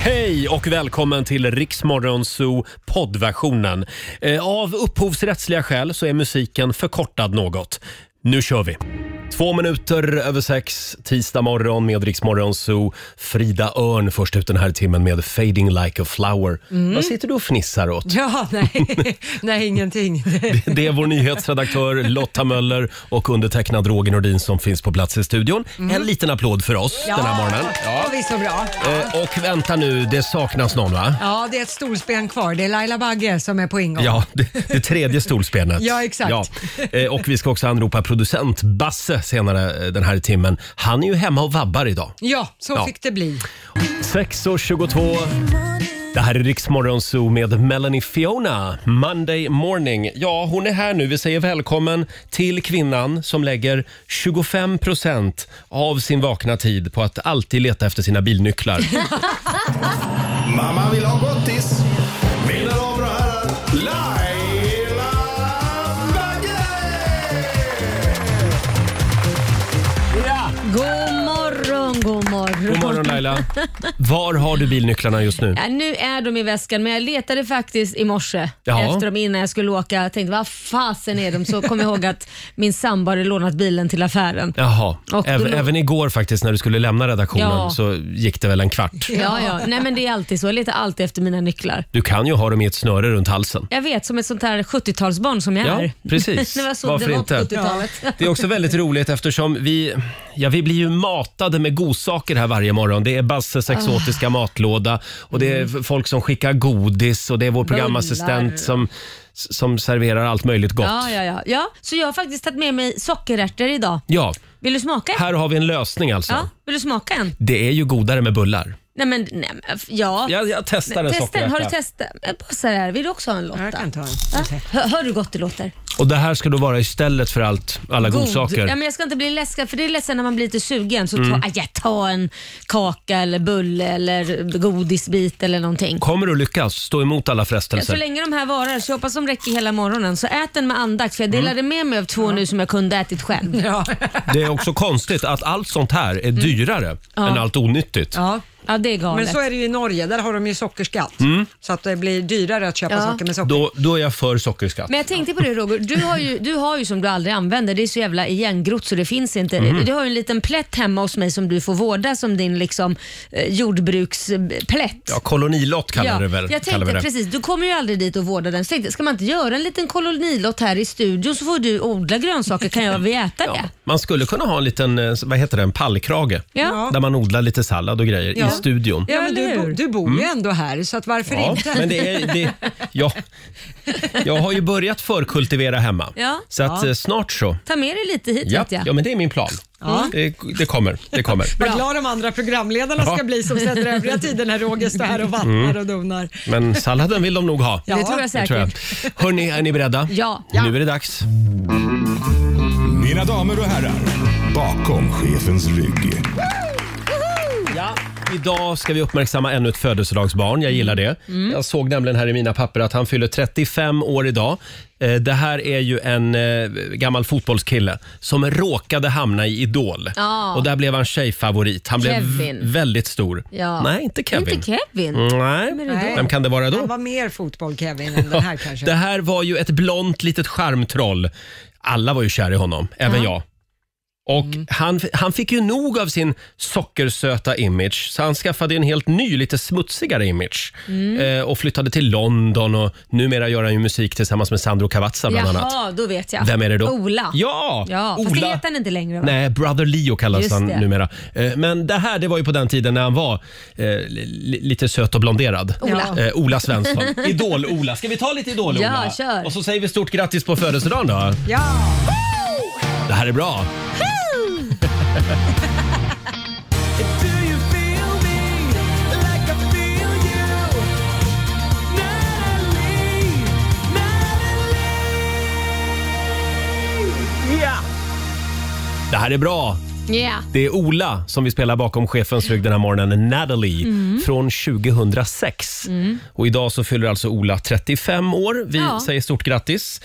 Hej och välkommen till Riksmorgon Zoo poddversionen. Eh, Av upphovsrättsliga skäl så är musiken förkortad något. Nu kör vi! Två minuter över sex, tisdag morgon med Riksmorgon Zoo. Frida Örn först ut den här timmen med Fading Like a Flower. Mm. Vad sitter du och fnissar åt? Ja, nej, nej ingenting. Det är vår nyhetsredaktör Lotta Möller och undertecknad Roger Nordin som finns på plats i studion. En liten applåd för oss den här morgonen. Mm. Ja, visst så bra. Eh, Och vänta nu, det saknas någon va? Ja, det är ett storspel kvar. Det är Laila Bagge som är på ingång. Ja, det, det tredje stolsbenet. Ja, exakt. Eh, Och vi ska också anropa producent Basse senare eh, den här timmen. Han är ju hemma och vabbar idag. Ja, så Ja. fick det bli. 6.22. Det här är Riksmorgon Zoo med Melanie Fiona, Monday morning. Ja, hon är här nu. Vi säger välkommen till kvinnan som lägger 25 av sin vakna tid på att alltid leta efter sina bilnycklar. Mamma vill ha gottis. Mina damer och herrar, Laila Bagge! God morgon, god morgon. God morgon Laila. Var har du bilnycklarna just nu? Ja, nu är de i väskan men jag letade faktiskt i morse Ja. efter dem innan jag skulle åka. Jag tänkte vad fasen är de? Så kom jag ihåg att min sambo hade lånat bilen till affären. Jaha, Och Äv- då lå- även igår faktiskt när du skulle lämna redaktionen Ja. så gick det väl en kvart. Ja, ja. Nej, men det är alltid så. Jag letar alltid efter mina nycklar. Du kan ju ha dem i ett snöre runt halsen. Jag vet, som ett sånt här 70-talsbarn som jag Ja, är. precis. det var så Varför det var inte? på 70-talet. Det är också väldigt roligt eftersom vi, ja, vi blir ju matade med godsaker här varje morgon. Det är Basses Ah. exotiska matlåda och det Mm. är folk som skickar godis och det är vår programassistent som, som serverar allt möjligt gott. Ja, ja, ja. ja, så jag har faktiskt tagit med mig sockerärtor idag. Ja, Vill du smaka? här har vi en lösning alltså. Ja, vill du smaka en? Det är ju godare med bullar. Nej, men nej, men, ja. Jag, jag testar en Testa, sockerärta. har du testat? Eh, Bossar här, vill du också ha en Lotta? Jag kan ta en. Va? Hör, hör du hur gott det låter? Och det här ska då vara istället för allt, alla godsaker. Ja, men jag ska inte bli läskad för det är ledsen när man blir lite sugen. Så ta, aj, ja, ta en kaka eller bulle eller godisbit eller någonting. Kommer du lyckas stå emot alla Så frestelser? länge de här varar, så jag hoppas de räcker hela morgonen. Så ät den med andakt för jag delade med mig av två nu som jag kunde ätit själv. Ja. Det är också konstigt att allt sånt här är dyrare än allt onyttigt. Ja. Mm. Ja, det är Men galet. så är det ju i Norge, där har de ju sockerskatt. Så att det blir dyrare att köpa Ja. saker med socker. Mm. Då, då är jag för sockerskatt. Men jag tänkte på det Roger, du har ju, du har ju som du aldrig använder, det är så jävla igengrott så det finns inte. Mhm. Du har ju en liten plätt hemma hos mig som du får vårda som din liksom, eh, jordbruksplätt. Ja, kolonilott kallar, det väl, jag kallar vi tänkte det. precis, du kommer ju aldrig dit och vårda den. Så tänkte, jag, ska man inte göra en liten kolonilott här i studion så får du odla grönsaker kan jag vi äta Ja, det? man skulle kunna ha en liten eh, vad heter det, en pallkrage Ja. där man odlar lite sallad och grejer i studion. Ja, men eller du, hur? bo, du bor ju ändå här, så att varför Mm. Ja, inte? men det är, det, ja, jag har ju börjat förkultivera hemma, Ja. så att, eh, snart så. Ta med dig lite hit Ja, vet jag. ja, men det är min plan. Det, det kommer. Det kommer. Vad glad de andra programledarna Ja. Mm. ska bli som sätter övriga tiden när Roger står här och vattnar och donar. Men salladen vill de nog ha. det tror jag Det säkert. tror jag. Hörni, är ni beredda? Ja. Nu är det dags. Mina damer och herrar, bakom chefens rygg. Ja. Idag ska vi uppmärksamma ännu ett födelsedagsbarn. Jag gillar det. Mm. Jag såg nämligen här i mina papper att han fyller 35 år idag. Eh, Det här är ju en eh, gammal fotbollskille som råkade hamna i Idol. Ja. Och där blev han tjejfavorit. Han blev Kevin. v- väldigt stor. Ja. Nej, inte Kevin. Inte Kevin. Mm, Nej. är det då? Vem kan det vara Han då? var mer fotboll Kevin än den här kanske. Det här var ju ett blont litet charmtroll. Alla var ju kär i honom, även jag. Och Mm. han, han fick ju nog av sin sockersöta image så han skaffade en helt ny, lite smutsigare image. Mm. Eh, och flyttade till London och numera gör han ju musik tillsammans med Sandro Cavazza bland annat. Jaha, då vet jag. Vem är det då? Ola. Ja! ja. Fast det Ola. heter han inte längre va? Nej, Brother Leo kallas Just han det. numera. Eh, Men det här det var ju på den tiden när han var eh, li- lite söt och blonderad. Ola. Eh, Ola Svensson. Idol-Ola. Ska vi ta lite Idol-Ola? Ja, kör. Och så säger vi stort grattis på födelsedagen då. Ja, Det här är bra. Det här är bra. Yeah. Det är Ola som vi spelar bakom chefens rygg den här morgonen, Natalie, Mm. från 2006. Och idag så fyller alltså Ola 35 år. Vi Ja. säger stort grattis.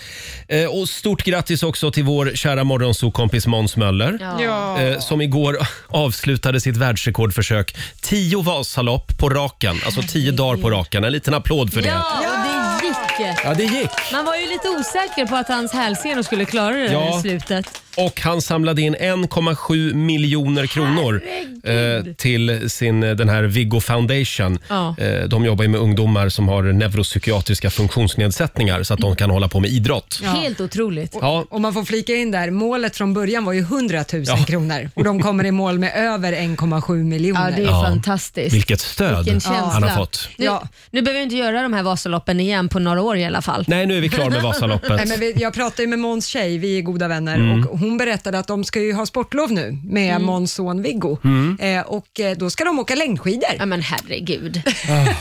Eh, och stort grattis också till vår kära morgonsokompis Måns Möller. Ja. Ja. Eh, som igår avslutade sitt världsrekordförsök. Tio Vasalopp på raken, alltså tio dagar på raken. En liten applåd för det. Ja, och det gick. Ja, det gick. Man var ju lite osäker på att hans hälsenor skulle klara det Ja. där i slutet. Och han samlade in 1,7 miljoner kronor eh, till sin, eh, den här Viggo Foundation. Ja. Eh, de jobbar ju med ungdomar som har neuropsykiatriska funktionsnedsättningar så att de kan hålla på med idrott. Helt otroligt. Ja, Och man får flika in där, målet från början var ju 100 000 kronor och de kommer i mål med över 1,7 Ja, miljoner. det är Ja. fantastiskt. vilket stöd Vilken känsla. han har fått. Nu, Ja. nu behöver vi inte göra de här Vasaloppen igen på några år i alla fall. Nej, nu är vi klara med Nej, Vasaloppet. men vi, jag pratade ju med Måns tjej, vi är goda vänner, Mm. och hon berättade att de ska ju ha sportlov nu med Mm. Måns son Viggo. Mm. Eh, och eh, då ska de åka längdskidor. Ja, men herregud. Ah.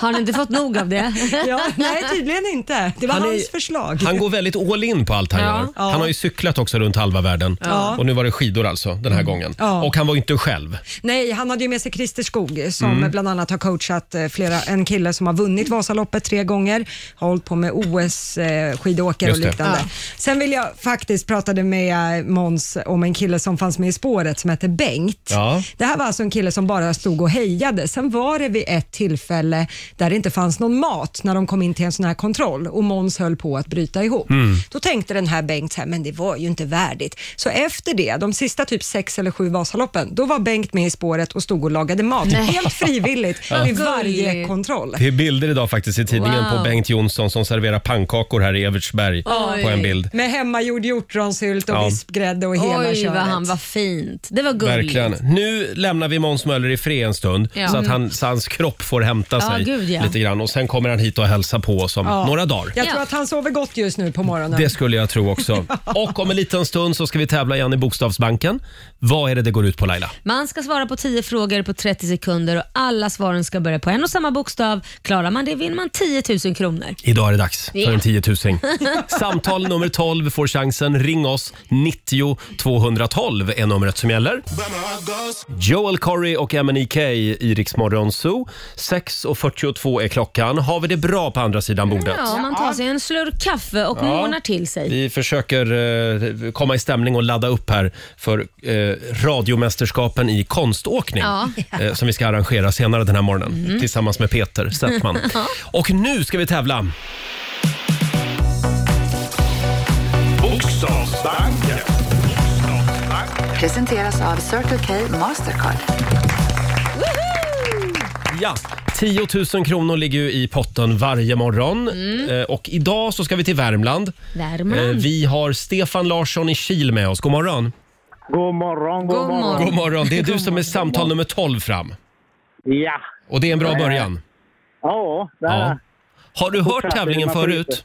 Har ni inte fått nog av det? Ja, nej, typ tydligen inte. Det var Han är- hans förslag. Han går väldigt all in på allt han Ja. gör. Ja. Han har ju cyklat också runt halva världen. Ja. Mm. Och nu var det skidor alltså, den här gången. Ja. Och han var ju inte själv. Nej, han hade ju med sig Christer Skog som Mm. bland annat har coachat eh, flera, en kille som har vunnit Vasaloppet tre gånger, har hållit på med OS-skidåkare och Just det. liknande. Sen vill jag faktiskt pratade med eh, Måns om en kille som fanns med i spåret som hette Bengt. Ja. Det här var alltså en kille som bara stod och hejade. Sen var det vid ett tillfälle där det inte fanns någon mat när de kom in till en sån här kontroll och Måns höll på att bryta ihop. Mm. Då tänkte den här Bengt så här, men det var ju inte värdigt. Så efter det, de sista typ sex eller sju Vasaloppen, då var Bengt med i spåret och stod och lagade mat helt frivilligt vid varje Gulligt. kontroll. Det är bilder idag faktiskt i tidningen Wow. på Bengt Jonsson som serverar pannkakor här i Evertsberg Oj. på en bild. Med hemmagjord hjortronsylt och Ja. vispgrädde och hela Oj, köret. vad han var fint. Det var gulligt. Verkligen. Nu lämnar vi Måns Möller i fred en stund Ja. Mm. så att han, så hans kropp får hämta Ja, sig gud, ja. lite grann. Och Sen kommer han hit och hälsa på oss om Ja. några dagar. Jag Ja. tror att han sover gott just nu på morgonen. Det skulle jag tro också. Och om en liten stund så ska vi tävla igen i Bokstavsbanken. Vad är det det går ut på Laila? Man ska svara på 10 frågor på 30 sekunder och alla svaren ska börja på en och samma bokstav. Klarar man det vinner man 10 000 kronor. Idag är det dags för Ja. en tiotusing. Samtal nummer 12 får chansen. Ring oss. 90 212 är numret som gäller. Joel Corry och MNEK i Rix Morgon Zoo. 6.42 är klockan. Har vi det bra på andra sidan bordet? Ja, man tar sig en slurk kaffe och månar till sig. Vi försöker eh, komma i stämning och ladda upp här för eh, radiomästerskapen i konståkning Ja. eh, som vi ska arrangera senare den här morgonen tillsammans med Peter Settman. Och nu ska vi tävla. Bokstavsbanken. Presenteras av Circle K Mastercard. Ja. 10 000 kronor ligger ju i potten varje morgon. Eh, och idag så ska vi till Värmland. Värmland. Eh, vi har Stefan Larsson i Kil med oss. God morgon. God morgon, god, God morgon. God morgon. Det är du som är samtal nummer 12 fram. Ja, Och det är en bra början. ja, det är Ja. det. Har du hört Fortsätt, tävlingen det är maskiner. förut?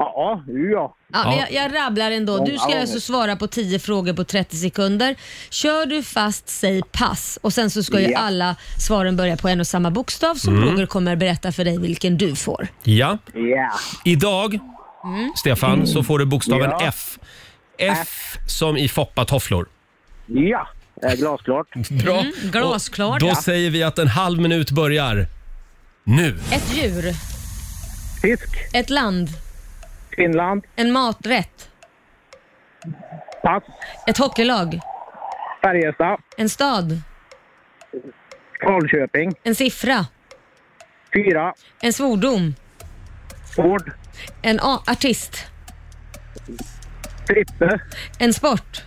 Ja, ju ja. Ja, men Ja. jag, jag rabblar ändå. Du ska alltså svara på 10 frågor på 30 sekunder. Kör du fast, säg pass. Och Sen så ska ju Ja. alla svaren börja på en och samma bokstav som Roger kommer berätta för dig vilken du får. Ja. Ja, Idag, Stefan, så får du bokstaven Ja. F. F som i foppatofflor. ja. Det är glasklart. Bra. Glasklar. Då säger vi att en halv minut börjar nu. Ett djur, Fisk, ett land, Finland, en maträtt, pass, ett hockeylag, Färjestad, en stad, Falköping, en siffra, fyra, en svordom, Ford, en a- artist, Frippe, en sport,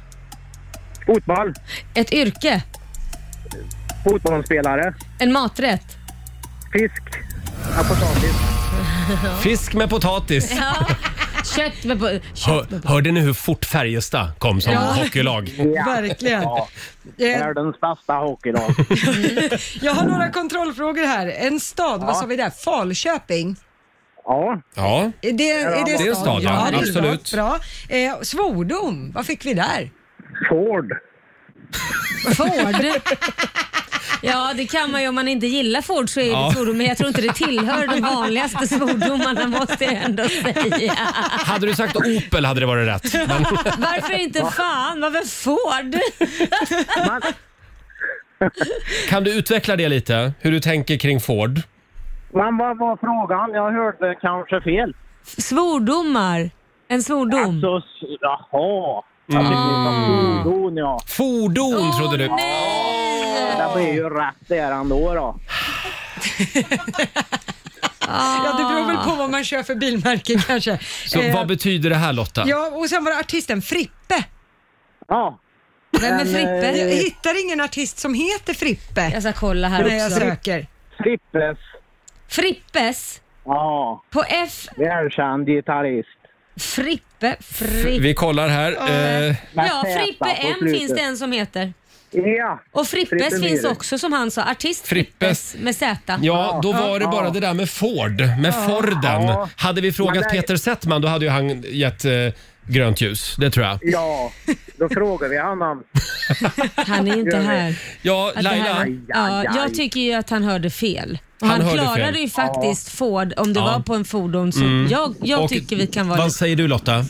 fotboll, ett yrke, fotbollsspelare, en maträtt. fisk, ja, potatis. Fisk med potatis. Kött med på... Hör, hörde ni hur fort Färjestad kom som hockeylag? Ja, Verkligen. Ja. Eh, världens bästa hockeylag. Jag har några kontrollfrågor här. En stad, vad sa vi där? Falköping? Ja, Ja, Är det, är det är en stad, ja. det är en stad. Absolut. Bra. Eh, svordom, vad fick vi där? Ford. Ford. Ja, det kan man ju. Om man inte gillar Ford så är det Ja. svordom, men jag tror inte det tillhör de vanligaste svordomarna måste jag ändå säga. Hade du sagt Opel hade det varit rätt. Men, Varför inte fan? Varför Ford? Man, kan du utveckla det lite? Hur du tänker kring Ford? man, vad var frågan? Jag hörde kanske fel. Svordomar. En svordom. Så, s- jaha. Jag fick lite fordon, ja. Fordon trodde du. nej! Det blir ju rätt där ändå då. Ja, det beror väl på vad man kör för bilmärke kanske. Så Eh, vad betyder det här Lotta? ja, och sen var det artisten Frippe. Ja. Vem är Men, Jag Frippe? hittar ingen artist som heter Frippe Jag ska kolla när här jag också. söker. Frippes. Frippes Ja. på F. Välkänd gitarrist. Frippe. Frippe. Vi kollar här. Eh, Med Ja, Z Frippe på M slutet. finns det en som heter. Ja. Och Frippes Frippe finns Myhre. också som han sa. Artist Frippes. Frippes med Z. ja, då var det bara det där med Ford, med Forden. Ja. Hade vi Men frågat det- Peter Settman då hade ju han gett eh, grönt ljus. Det tror jag. Ja, då frågar vi honom. Han är inte Gör vi. här. Ja, Att det här, Laila. ja, jag tycker ju att han hörde fel. Och Han han hörde klarade fel. ju faktiskt Ford om det Ja. Mm. var på en fordon. Så jag jag och tycker vi kan vara Vad lite... säger du Lotta?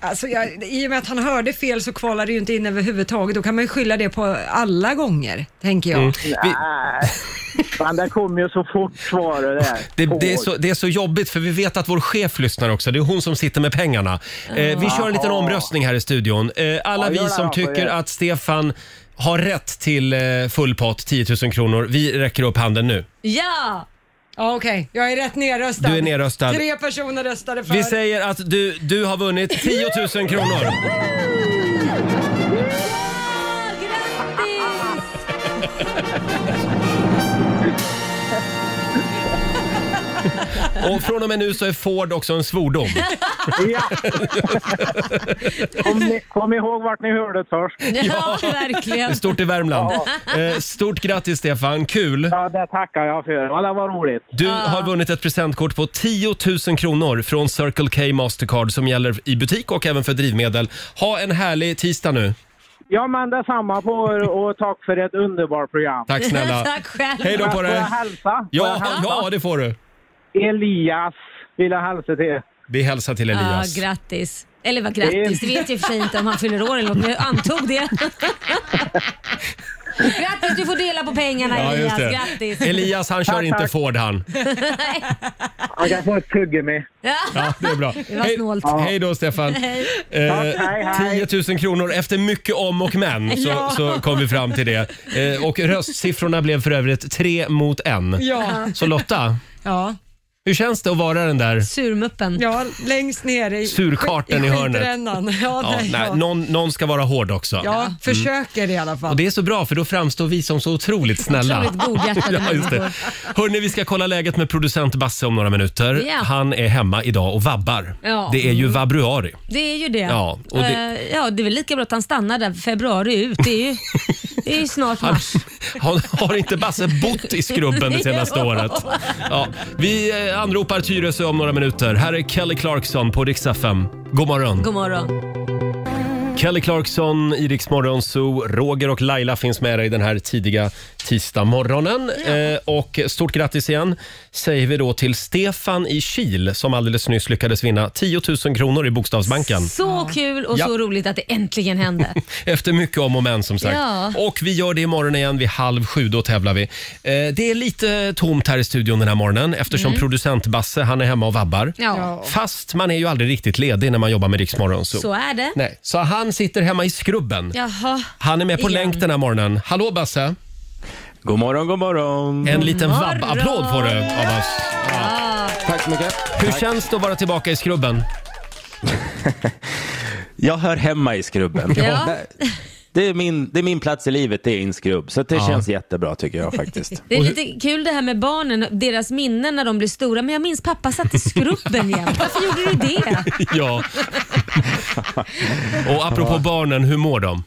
Alltså, jag, I och med att han hörde fel så kvalade det ju inte in överhuvudtaget. Då kan man ju skylla det på alla gånger, tänker jag. Vi, Nej, men det kom ju så fort svaret där. det, det, är Ford. så, det är så jobbigt för vi vet att vår chef lyssnar också. Det är hon som sitter med pengarna. Eh, vi kör en liten omröstning här i studion. Eh, alla Ja, gör vi det som då, får tycker jag. att Stefan har rätt till eh, full pott, 10 000 kronor. Vi räcker upp handen nu. Ja! Ja, Okej, jag är rätt nerröstad. Du är nerröstad. Tre personer röstade för. Vi säger att du, du har vunnit 10 000 kronor. Ah, Grattis! Och från och med nu så är Ford också en svordom. Ja. kom, ni- kom ihåg vart ni hörde först. Ja, verkligen. Stort i Värmland. Eh, stort grattis Stefan, kul! Ja, det tackar jag för. Ja, det var roligt. Du har vunnit ett presentkort på 10 000 kronor från Circle K Mastercard som gäller i butik och även för drivmedel. Ha en härlig tisdag nu. Ja, men detsamma på er och tack för ett underbart program. Tack snälla. Tack själv. Hej då på Får jag dig. hälsa? Får jag Ja, hälsa? ja, det får du. Elias vill jag hälsa till. Vi hälsar till Ja, Elias. grattis. Eller vad grattis, det vet jag i och för sig inte om han fyller år eller något, men jag antog det. Grattis, du får dela på pengarna Ja, Elias. just det. Grattis. Elias han kör inte Ford han. Han kan få ett tuggummi. Ja, det är bra. var Hej- snålt. Hej då Stefan. Tack, hej, hej. 10 000 kronor efter mycket om och men så, Ja. så kom vi fram till det. Eh, och röstsiffrorna blev för övrigt tre mot en. Ja, Så Lotta, ja. hur känns det att vara den där Surmuppen. ja, längst ner i, Surkarten i i hörnet. skitrännan. Ja, Ja, nej, nej, ja. någon, någon ska vara hård också. ja, försöker i alla fall. Och det är så bra för då framstår vi som så otroligt snälla. Otroligt godhjärtade ja, just det. människor. Hörrni, vi ska kolla läget med producent Basse om några minuter. Ja. Han är hemma idag och vabbar. Ja. Det är ju vabruari. Det är ju det. Ja, och det- Eh, ja, det är väl lika bra att han stannar där februari ut. Det är ju, det är ju snart Han, mars. han har inte Basse bott i skrubben det senaste Jo. året? Ja, vi eh, anropar Tyresö om några minuter. Här är Kelly Clarkson på Rix FM. God morgon. God morgon. Kelly Clarkson, i Rix Morgon Zoo. Roger och Laila finns med dig den här tidiga tisdagmorgonen. Eh, och stort grattis igen säger vi då till Stefan i Kil som alldeles nyss lyckades vinna 10 000 kronor i Bokstavsbanken. Så kul och Ja. så roligt att det äntligen hände. Efter mycket om och men som sagt. Ja. Och vi gör det imorgon igen vid halv sju, då tävlar vi. Eh, det är lite tomt här i studion den här morgonen eftersom producent Basse, han är hemma och vabbar. Mm. Ja, Fast man är ju aldrig riktigt ledig när man jobbar med Rix Morgon Zoo. så är det. Nej, så han sitter hemma i skrubben. Jaha. Han är med på Igen. länk den här morgonen. Hallå Basse! God morgon, god morgon. En liten morgon. vabb-applåd får du av oss. Tack så mycket. Hur känns det att vara tillbaka i skrubben? Jag hör hemma i skrubben. Ja. Det, är min, det är min plats i livet, det är en skrubb. Så det känns jättebra tycker jag faktiskt. Det är lite kul det här med barnen, deras minnen när de blir stora. Men jag minns pappa satt i skrubben jämt. Varför gjorde du det? Ja. Och apropå barnen, hur mår de?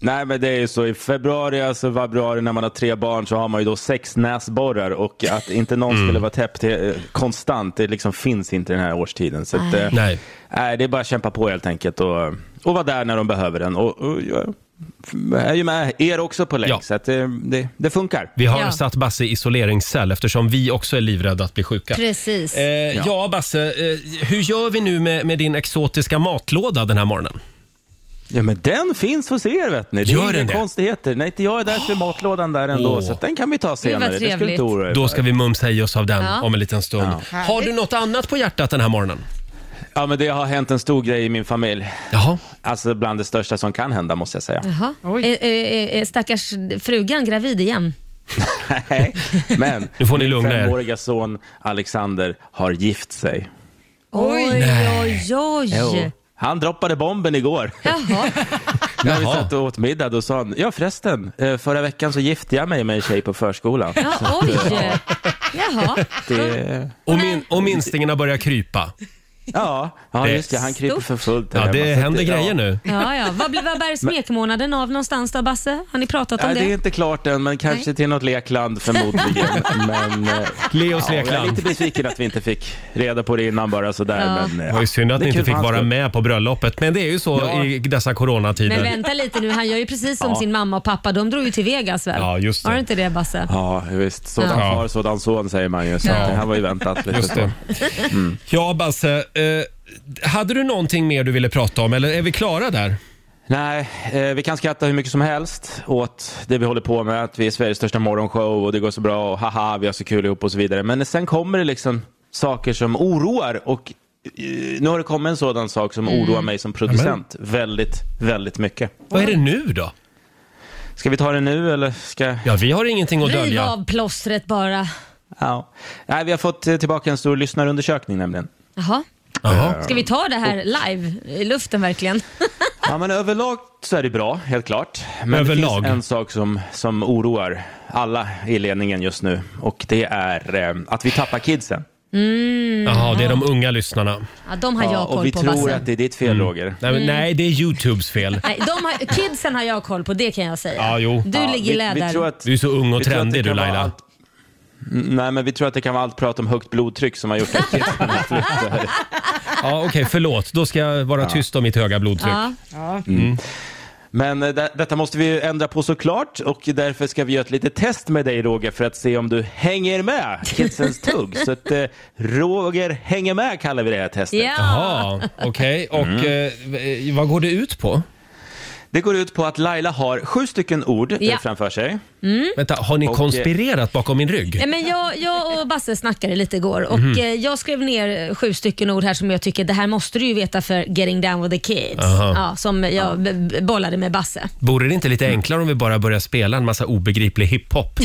Nej men det är ju så, i februari, alltså februari när man har tre barn så har man ju då sex näsborrar och att inte någon Mm. skulle vara täppt eh, konstant, det liksom finns inte den här årstiden. Så att, eh, Nej. nej, det är bara att kämpa på helt enkelt och, och vara där när de behöver den. Och, och jag, är ju med er också på länk, Ja. så att det, det, det funkar. Vi har Ja. satt Basse i isoleringscell eftersom vi också är livrädda att bli sjuka. Precis. Eh, ja. Basse, eh, hur gör vi nu med, med din exotiska matlåda den här morgonen? Ja, men den finns hos er, vet ni. Det Gör är den inga det? konstigheter. Nej, inte jag är där för matlådan där ändå, Åh. så att den kan vi ta senare. Det skulle trevligt. inte oroa er Då för. ska vi mumsa i oss av den Ja. om en liten stund. Ja. Har du något annat på hjärtat den här morgonen? Ja, men det har hänt en stor grej i min familj. Jaha. Alltså bland det största som kan hända, måste jag säga. Jaha. Eh, Är, är, är stackars frugan gravid igen? Nej, men Nu får ni min lugna er. femåriga son Alexander har gift sig. Oj, oj, oj. Jo. Han droppade bomben igår. Jaha. När vi Jaha. satt och åt middag då sa han, ja förresten, eh, förra veckan så gifte jag mig med en tjej på förskolan. Ja, oj. Jaha. Det, Och, min, och minstingarna börjar krypa. ja, ja, Det är just det, han kryper stort. för fullt. här Ja, hemma. Så det att händer grejer ja. nu. Ja, ja. Vad, blir- vad bär smekmånaden av någonstans då, Basse? Har ni pratat om Nej, det är det? inte klart än, men kanske till något lekland förmodligen. men, eh, Leos ja, jag är lekland. lite besviken att vi inte fick reda på det innan bara sådär. Ja. Men, eh, Det var ju synd att det är ni inte kul fick för hans vara skull. med på bröllopet, men det är ju så Ja. i dessa coronatider. Men vänta lite nu, han gör ju precis som sin mamma och pappa. De drog ju till Vegas väl? Ja, just det. Var det inte det Basse? Ja, visst. Sådan Ja. far, sådan son säger man ju. Så Ja. det här var ju väntat. liksom. Lite Just det. Mm. Ja, Basse. Eh, hade du någonting mer du ville prata om eller är vi klara där? Nej, eh, vi kan skratta hur mycket som helst åt det vi håller på med, att vi är Sveriges största morgonshow och det går så bra och haha, vi har så kul ihop och så vidare. Men sen kommer det liksom saker som oroar och eh, nu har det kommit en sådan sak som oroar mig som producent väldigt, väldigt mycket. Vad är det nu då? Ska vi ta det nu eller ska... Ja, vi har ingenting att Riv dölja. av plåstret bara. Ja. Nej, vi har fått eh, tillbaka en stor lyssnarundersökning nämligen. Jaha. Jaha. Ska vi ta det här live, i luften verkligen? Ja, men överlag så är det bra, helt klart. Men Överlag? det finns en sak som, som oroar alla i ledningen just nu och det är eh, att vi tappar kidsen. Mm. Jaha, det är de unga lyssnarna. Ja, de har jag och vi koll på tror Basse. att det är ditt fel, Mm. Roger. Nej, men, nej, det är Youtubes fel. Mm. Nej, de har, kidsen har jag koll på, det kan jag säga. Ja, jo. Du Ja, ligger i vi, vi läder. tror att, Du är så ung och vi tror att det trendig du kan vara Laila. allt- Mm, Nej, men vi tror att det kan vara allt prat om högt blodtryck som har gjort att kidsen har flyttat. Ja, Okej, förlåt. Då ska jag vara tyst om mitt höga blodtryck. ja. Men eh, det, detta måste vi ju ändra på såklart och därför ska vi göra ett litet test med dig Roger för att se om du hänger med kidsens tugg. Så att eh, Roger hänger med kallar vi det här testet. ja. Jaha, okej. Och Mm. eh, vad går det ut på? Mm. Det går ut på att Laila har sju stycken ord Ja. eh, framför sig. Vänta, har ni Och, eh, konspirerat bakom min rygg? Nej, men jag, jag och Basse snackade lite igår och Mhm. eh, jag skrev ner eh, sju stycken ord här som jag tycker det här måste du ju veta för getting down with the kids. Aha. Ja, som jag b- b- bollade med Basse. Vore det inte lite Mm. enklare om vi bara börjar spela en massa obegriplig hiphop?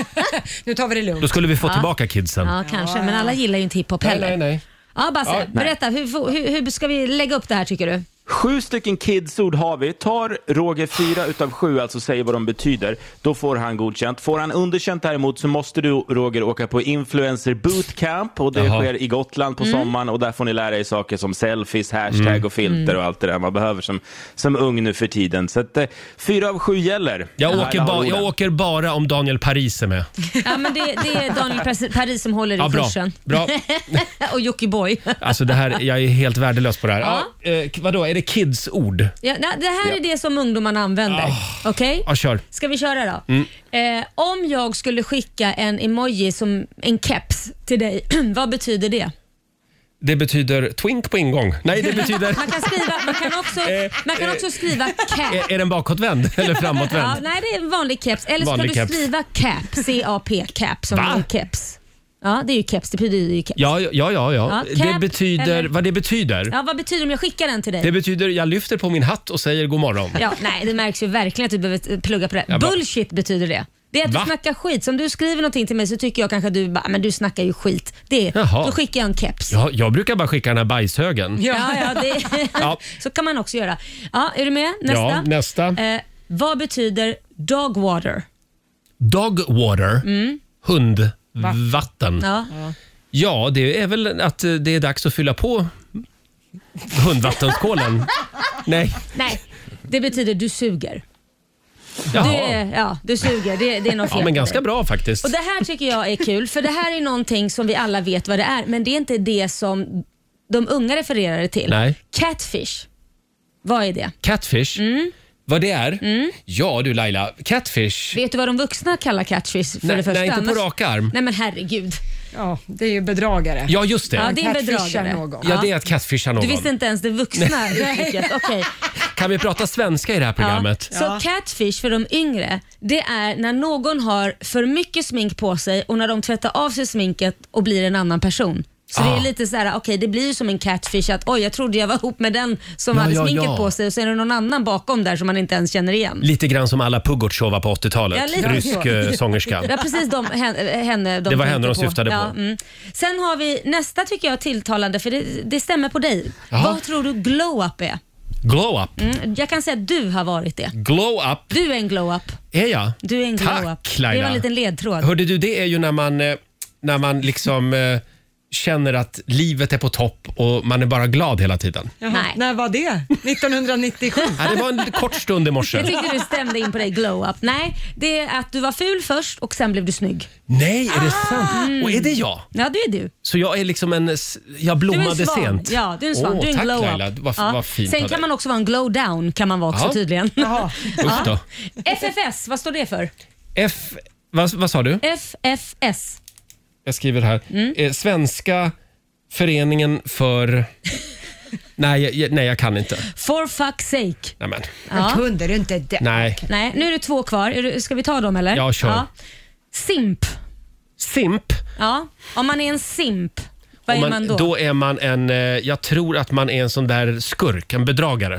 Nu tar vi det Då lugnt. skulle vi få tillbaka kidsen. Ja, kanske, men alla gillar ju inte hiphop Nej, heller. nej, nej. Ja, Basse, Ja, nej. berätta. Hur, hur, hur ska vi lägga upp det här tycker du? Sju stycken kidsord har vi. Tar Roger fyra utav sju, alltså säger vad de betyder, då får han godkänt. Får han underkänt däremot så måste du, Roger, åka på influencer bootcamp och det Jaha. sker i Gotland på sommaren och där får ni lära er saker som selfies, hashtag Mm. och filter och allt det där man behöver som, som ung nu för tiden. Så att, eh, fyra av sju gäller. Jag Laila åker, har ba- orden. jag åker bara om Daniel Paris är med. Ja, men det, det är Daniel Pers- Paris som håller i Ja, bra. kursen. bra. och Jockiboi. Alltså det här, jag är helt värdelös på det här. Ja. eh, vadå, är det kidsord? Ja, nej, det här är det som ungdomarna använder. Ah. Okej? Ja, kör. Ska vi köra då? Mm. Eh, om jag skulle skicka en emoji som en keps till dig, vad betyder det? Det betyder twink på ingång. Nej, det betyder... Man kan, skriva, man kan, också, Eh, man kan också skriva cap. är, är den bakåtvänd eller Ja, framåtvänd? nej, det är en vanlig keps. Eller så eh. Vanlig kan keps. du skriva cap, C-A-P, cap som Va? en keps. Ja, det är ju keps. Det betyder ju keps. Ja. Ja, ja, ja. ja, Ja, det cap betyder... eller- Vad det betyder? vad betyder det om jag skickar den till dig? Det betyder jag lyfter på min hatt och säger god morgon. Ja, nej, det märks ju verkligen att du behöver plugga på det. Ja, bra. Bullshit betyder det. Det är att Va? du snackar skit. Så om du skriver någonting till mig så tycker jag kanske att du bara, "Ah, men du snackar ju skit. Det, Jaha. då skickar jag en keps. Ja, jag brukar bara skicka den här bajshögen. Ja, ja, det, Ja. så kan man också göra. Ja, är du med? Nästa. Ja, nästa. Eh, vad betyder dog water? Dog water, Mm. hundvatten. Ja. Ja. det är väl att eh, det är dags att fylla på hundvattenskålen. Nej, Nej, det betyder du suger. jaha. Det, ja, du suger. Det, det är något fel Ja, men på ganska dig. bra faktiskt. Och Det här tycker jag är kul, för det här är någonting som vi alla vet vad det är, men det är inte det som de unga refererar det till. Nej. Catfish, vad är det? Mm. Catfish, Vad det är? Ja du Laila, catfish. Vet du vad de vuxna kallar catfish för Nej, det första? nej, inte på Men- rak arm. Nej men herregud. Ja, det är ju bedragare. Ja just det. Ja, Ja, det är en Catfishar bedragare. någon. det är att catfisha någon. Du visste inte ens det vuxna uttrycket. Okej. Kan vi prata svenska i det här programmet? Ja. Så catfish för de yngre, det är när någon har för mycket smink på sig och när de tvättar av sig sminket och blir en annan person. Så det Ah. är lite så här, okej det blir ju som en catfish att oj jag trodde jag var ihop med den som Ja, hade ja, sminket ja. på sig och sen är det någon annan bakom där som man inte ens känner igen. Lite grann som alla Pugotjova på 80-talet. Ja, lite Rysk så. eh, sångerska. Det var precis de, henne, henne de Det var henne tänkte de syftade på. Ja, mm. Sen har vi nästa tycker jag är tilltalande för det, det stämmer på dig. Jaha. Vad tror du glow-up är? Glow up. Mm, jag kan säga att du har varit det. Glow up Du är en glow-up. är jag. Du är en glow-up. Tack Det Laila. var en liten ledtråd. Hörde du, det är ju när man, eh, när man liksom eh, känner att livet är på topp och man är bara glad hela tiden. Jaha, Nej. När var det? 1997? Ja, det var en kort stund i morse. Jag tyckte du stämde in på dig glow-up. Nej, det är att du var ful först och sen blev du snygg. Nej, är det Ah. sant? Och är det jag? Ja, det är du. Så jag är liksom en... s- Jag Du är blommade en svan. sent. Ja, du är en svan. Åh, du är en tack glow-up. Laila, vad, Ja. vad fint Sen av kan dig. man också vara en glow-down kan man vara också Ja. tydligen. Jaha. Usch då. FFS, vad står det för? F... Vad, vad sa du? FFS. Jag skriver här. Mm. Eh, Svenska föreningen för... nej, jag- jag, nej, jag kan inte. For fuck's sake. Nej, men. Men Ja. kunde du inte det? nej. Nej, nu är det två kvar. Är du- Ska vi ta dem eller? Ja, kör. Simp. Simp. Ja. Om man är en simp, vad Om är man då? Då är man en... eh, Jag tror att man är en sån där skurk, en bedragare.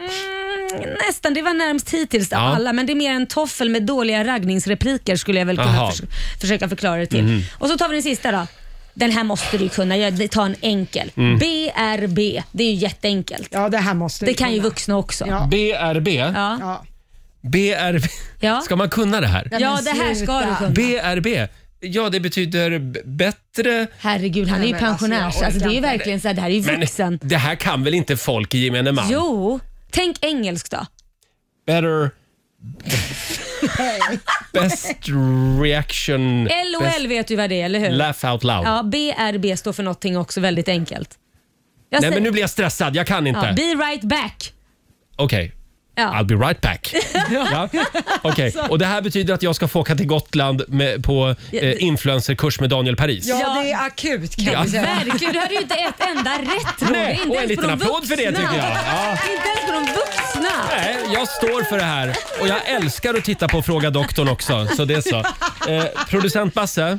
Mm, Nästan, det var närmst hittills av Ja. alla, men det är mer en toffel med dåliga raggningsrepliker skulle jag väl kunna Jaha. förs försöka förklara det till. Mhm. Och så tar vi den sista då. Den här måste du kunna, jag tar en enkel. Mm. BRB, det är ju jätteenkelt. Ja, det här måste Det vi kan ju kunna. vuxna också. Ja, Ja. BRB. ja. Ja. BRB. Ja. Ska man kunna det här? Nej, men det här ska sluta. du kunna. BRB. Ja, det betyder b- bättre... Herregud, han är ju Nej, men alltså, pensionär. jag så alltså, det är orkar ju inte. verkligen så här, det här är ju Men vuxen. det här kan väl inte folk i gemene man? Jo, tänk engelsk då. Better... Best reaction... LOL Best vet du vad det är, eller hur? laugh out loud. Ja, BRB står för någonting också väldigt enkelt. Nej, Jag säger- men nu blir jag stressad. Jag kan inte. ja, be right back. Okej. Ja. I'll be right back. ja. Okej. Och Det här betyder att jag ska få åka till Gotland med, på eh, influencerkurs med Daniel Paris. Ja, Ja. det är akut kan Ja. vi säga. Verkligen, du hade ju inte ett enda rätt Roger. Nej, Inte och en ens på liten de applåd för det, vuxna. tycker jag. Ja. Inte ens för de vuxna. Nej, jag står för det här. Och jag älskar att titta på Fråga doktorn också. Så det är så. Eh, producent Basse,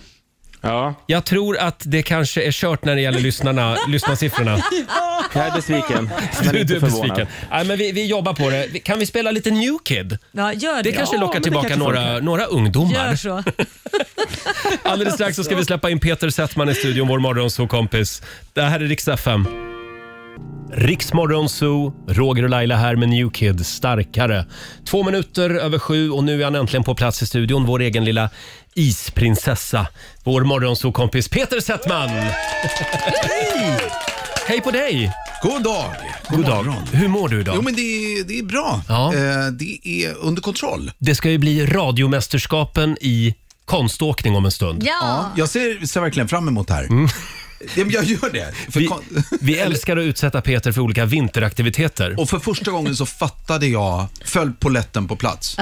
Ja, jag tror att det kanske är kört när det gäller lyssnarna, lyssnarsiffrorna. jag är besviken. men Du, inte du är förvånad. besviken. Nej, men vi, vi jobbar på det. Vi- Kan vi spela lite New Kid? Ja, gör det. Det kanske Ja, lockar men det tillbaka kanske några, funkar. några ungdomar. Gör så. Alldeles strax så ska vi släppa in Peter Settman i studion, vår morgonsåkompis. Det här är riksdag 5. Riksmorgonzoo, Roger och Laila här med New Kids starkare. Två minuter över sju och nu är han äntligen på plats i studion, vår egen lilla isprinsessa. Vår morgonzoo-kompis Peter Settman! Hej! Hej på dig! God dag! God dag. morgon. Hur mår du idag? Jo men det är, det är bra. Ja. Eh, det är under kontroll. Det ska ju bli radiomästerskapen i konståkning om en stund. Ja. Jag ser, ser verkligen fram emot det här. Mm. Ja, men jag gör det. För Vi, kon- vi älskar att utsätta Peter för olika vinteraktiviteter. och för första gången så fattade jag, föll poletten på plats,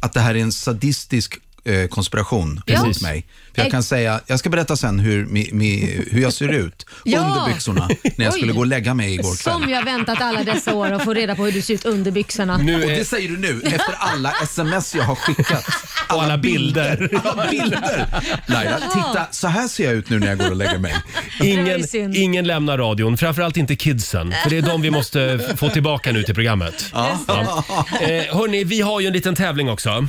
att det här är en sadistisk eh, konspiration mot mig. För jag kan säga, jag ska berätta sen hur, mi, mi, hur jag ser ut Ja. under byxorna när jag Oj. skulle gå och lägga mig igår kväll. Som jag väntat alla dessa år att få reda på hur du ser ut under byxorna. Nu Och är, det säger du nu, efter alla sms jag har skickat. Och alla bilder. Alla bilder. Laila, titta, så här ser jag ut nu när jag går och lägger mig. Det var ingen, ju synd. ingen lämnar radion, framförallt inte kidsen. För det är de vi måste f- få tillbaka nu till programmet. Ja. Eh, hörni, vi har ju en liten tävling också. Mm.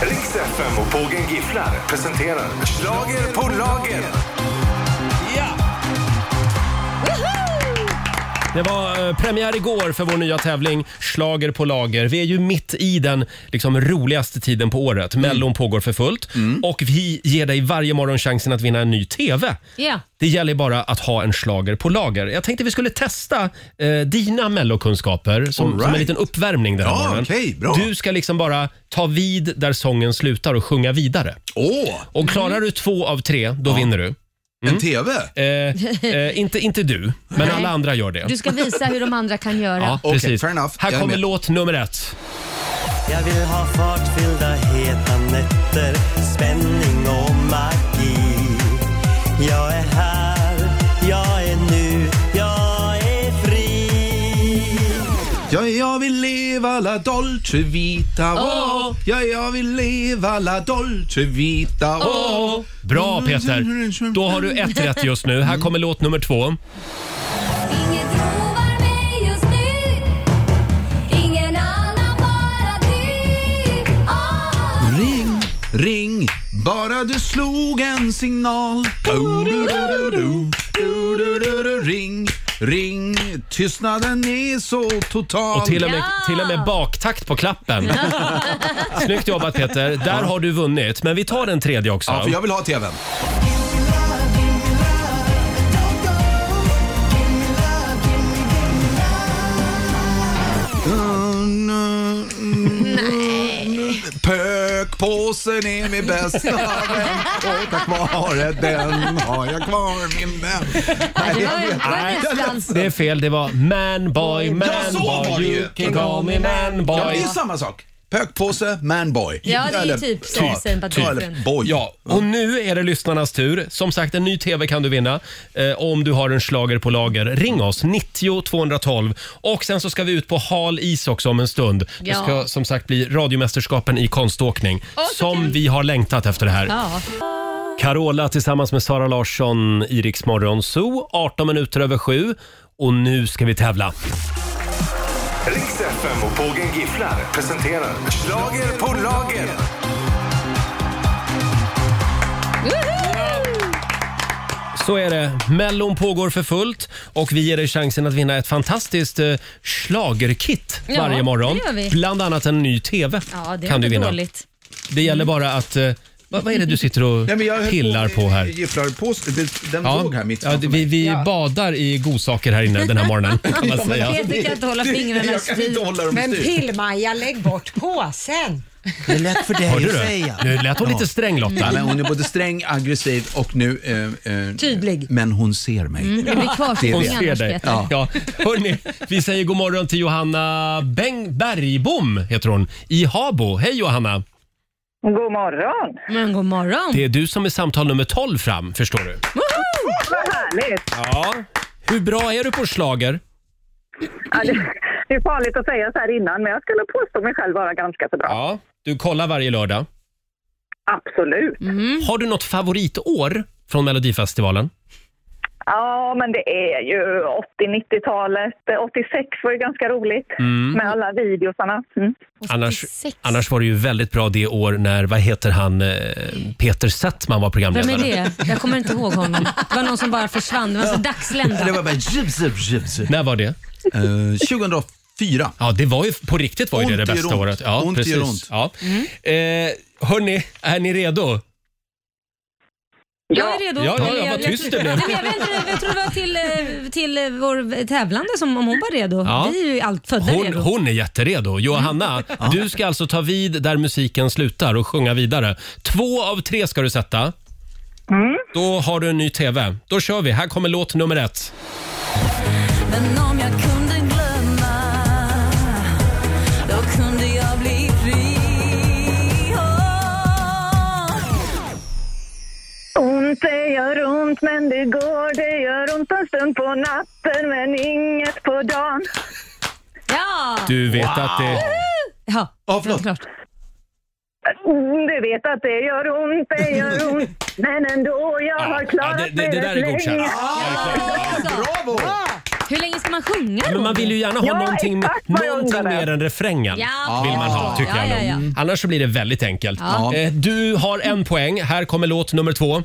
Riks FM och Pågen Gifflar presenterar Schlager på lager. Det var eh, premiär igår för vår nya tävling Slager på lager. Vi är ju mitt i den liksom, roligaste tiden på året. Mm. Mellon pågår för fullt och vi ger dig varje morgon chansen att vinna en ny TV. Ja. Det gäller bara att ha en slager på lager. Jag tänkte vi skulle testa eh, dina mellokunskaper som, All right. som en liten uppvärmning den här Ja, morgonen. okej, bra. Du ska liksom bara ta vid där sången slutar och sjunga vidare. Åh! Och klarar du två av tre, då vinner du. Mm. En TV? Eh, eh, inte, inte du, men Nej. alla andra gör det. Du ska visa hur de andra kan göra. Ja, Okej, precis. fair enough. Här Jag är kommer med. låt nummer ett. Jag vill ha fartfyllda heta nätter, spänning och magi. Jag är här, jag är nu, jag är fri. Ja, jag vill leva la dolce vita, oh. Åh. Ja, jag vill leva la dolce vita, oh. Bra Peter! Då har du ett rätt just nu. Mm. Här kommer låt nummer två. Inget roar mig just nu Ingen annan, bara Ah. du Åh, Ring, ring, bara du slog en signal. Du-du-du-du-du, du-du-du-du, Ring, ring, tystnaden är så total. Och till och med, Ja! till och med baktakt på klappen. Snyggt jobbat Peter. Där har du vunnit. Men vi tar den tredje också. Ja, för jag vill ha TVn. Pökpåsen är min bästa vän och tack vare den har jag kvar min vän. Nej, Det jag var, vet inte. det var nästan så. Det är fel. Det var man boy, man Ja, så var det boy. ju. You can call me man Ja, boy. det är samma sak. Pökpåse, manboy. Ja, det är Eller typ ta- sen på ta- typen. eller boy. Ja, och nu är det lyssnarnas tur. Som sagt, en ny TV kan du vinna eh, om du har en slager på lager. Ring oss, 90 212. Och sen så ska vi ut på hal is också om en stund. Det Ja. ska som sagt bli radiomästerskapen i konståkning Åh, så som kul. vi har längtat efter det här. Ja. Carola tillsammans med Sara Larsson i Rix Morgon Zoo, 18 minuter över sju. Och nu ska vi tävla. Riks FM och Pågen Gifflar presenterar Schlager på lager. Så är det. Mellon pågår för fullt och vi ger dig chansen att vinna ett fantastiskt eh, schlagerkit Ja, varje morgon. det gör vi. Bland annat en ny TV ja, det är kan du inte vinna. dåligt. Det gäller bara att... eh, Vad, vad är det du sitter och Nej, men jag höll pillar på, här? Gifflar på, det- den låg här mitt ja, framför vi mig. vi badar i godsaker här inne den här morgonen. Kan man säga. Peter kan inte hålla fingrarna Jag kan inte styr. hålla dem Men styr. Pill-Maja, lägg bort påsen. Det är lätt för Hörde dig att du? säga. Nu lät hon lite sträng Ja, Lotta. men hon är både sträng, aggressiv och nu... Eh, eh, Tydlig. Mm. Men hon ser mig. Det blir Hon kvarsittning ser annars dig. Peter. Ja. Hörrni, vi säger god morgon till Johanna Beng Bergbom heter hon, i Habo. Hej Johanna! God morgon! Men god morgon. Det är du som är samtal nummer 12 fram, förstår du. Vad härligt! Ja. Hur bra är du på slager? Ja, det, det är farligt att säga så här innan, men jag skulle påstå mig själv vara ganska så bra. Ja. Du kollar varje lördag. Absolut. Mm. Har du något favoritår från Melodifestivalen? Ja, men det är ju 80-90-talet. 86 var ju ganska roligt med alla videosarna. Mm. Annars, 86. annars var det ju väldigt bra det år när, vad heter han, eh, Peter Settman var Vem programledare. är det? Jag kommer inte ihåg honom. Det var någon som bara försvann. Det var en Det dagslända. var bara... Zip, zip, zip, zip. När var det? Eh, 2004. Ja, det var ju på riktigt var ju det Ont det gör bästa ont. året. Ja, Ont precis. gör ont. Ja. Eh, hörni, är ni redo? Jag är redo. Ja, ja, ja, Eller vad jag- tyst jag- det blev. Nej, men Jag vet inte, jag tror det var till, eh, till eh, vår tävlande som om hon var redo. Ja. Vi är ju allt födda Hon, redo. hon är jätteredo. Johanna, du ska alltså ta vid där musiken slutar och sjunga vidare. Två av tre ska du sätta. Då har du en ny TV. Då kör vi. Här kommer låt nummer ett. Men om jag kunde glömma Då kunde jag bli fri Ont det gör ont men det går. Det gör ont en stund på natten men inget på dagen. Ja! Du vet att det... Ja, Ja, förlåt. klart. Mm, Du vet att det gör ont, det gör ont. Men ändå, jag har Ja, klarat det, det, det där rätt är godkänt. länge. Bravo! Hur länge ska man sjunga Men man vill ju gärna ha Ja, någonting, exakt vad jag någonting undrade. mer än refrängen. Ja, Vill man ha, ja, tycker ja, jag ja. nog. Annars så blir det väldigt enkelt. Ja. Eh, Du har en poäng. Här kommer låt nummer två.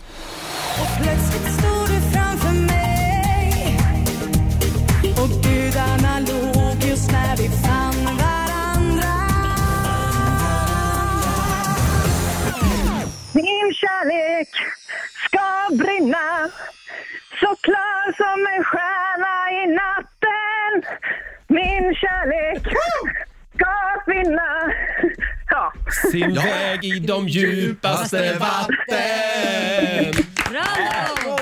Plötsligt stod du framför mig Och gudarna log just när vi fann varandra Min kärlek ska brinna så klar som en stjärna i natten. Min kärlek ska finna. Ja. Sin väg i de djupaste vatten. Bravo!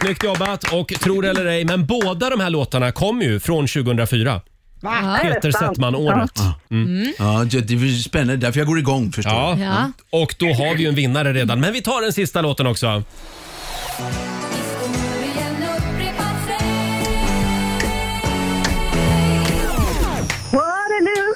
Snyggt jobbat och tro det eller ej, men båda de här låtarna kom ju från 2004. Va? Peter Settman-året. Mm. Ja, det det är spännande. Därför jag går igång förstår Ja. du. Ja. Och då har vi ju en vinnare redan. Men vi tar den sista låten också. Waterloo. Waterloo.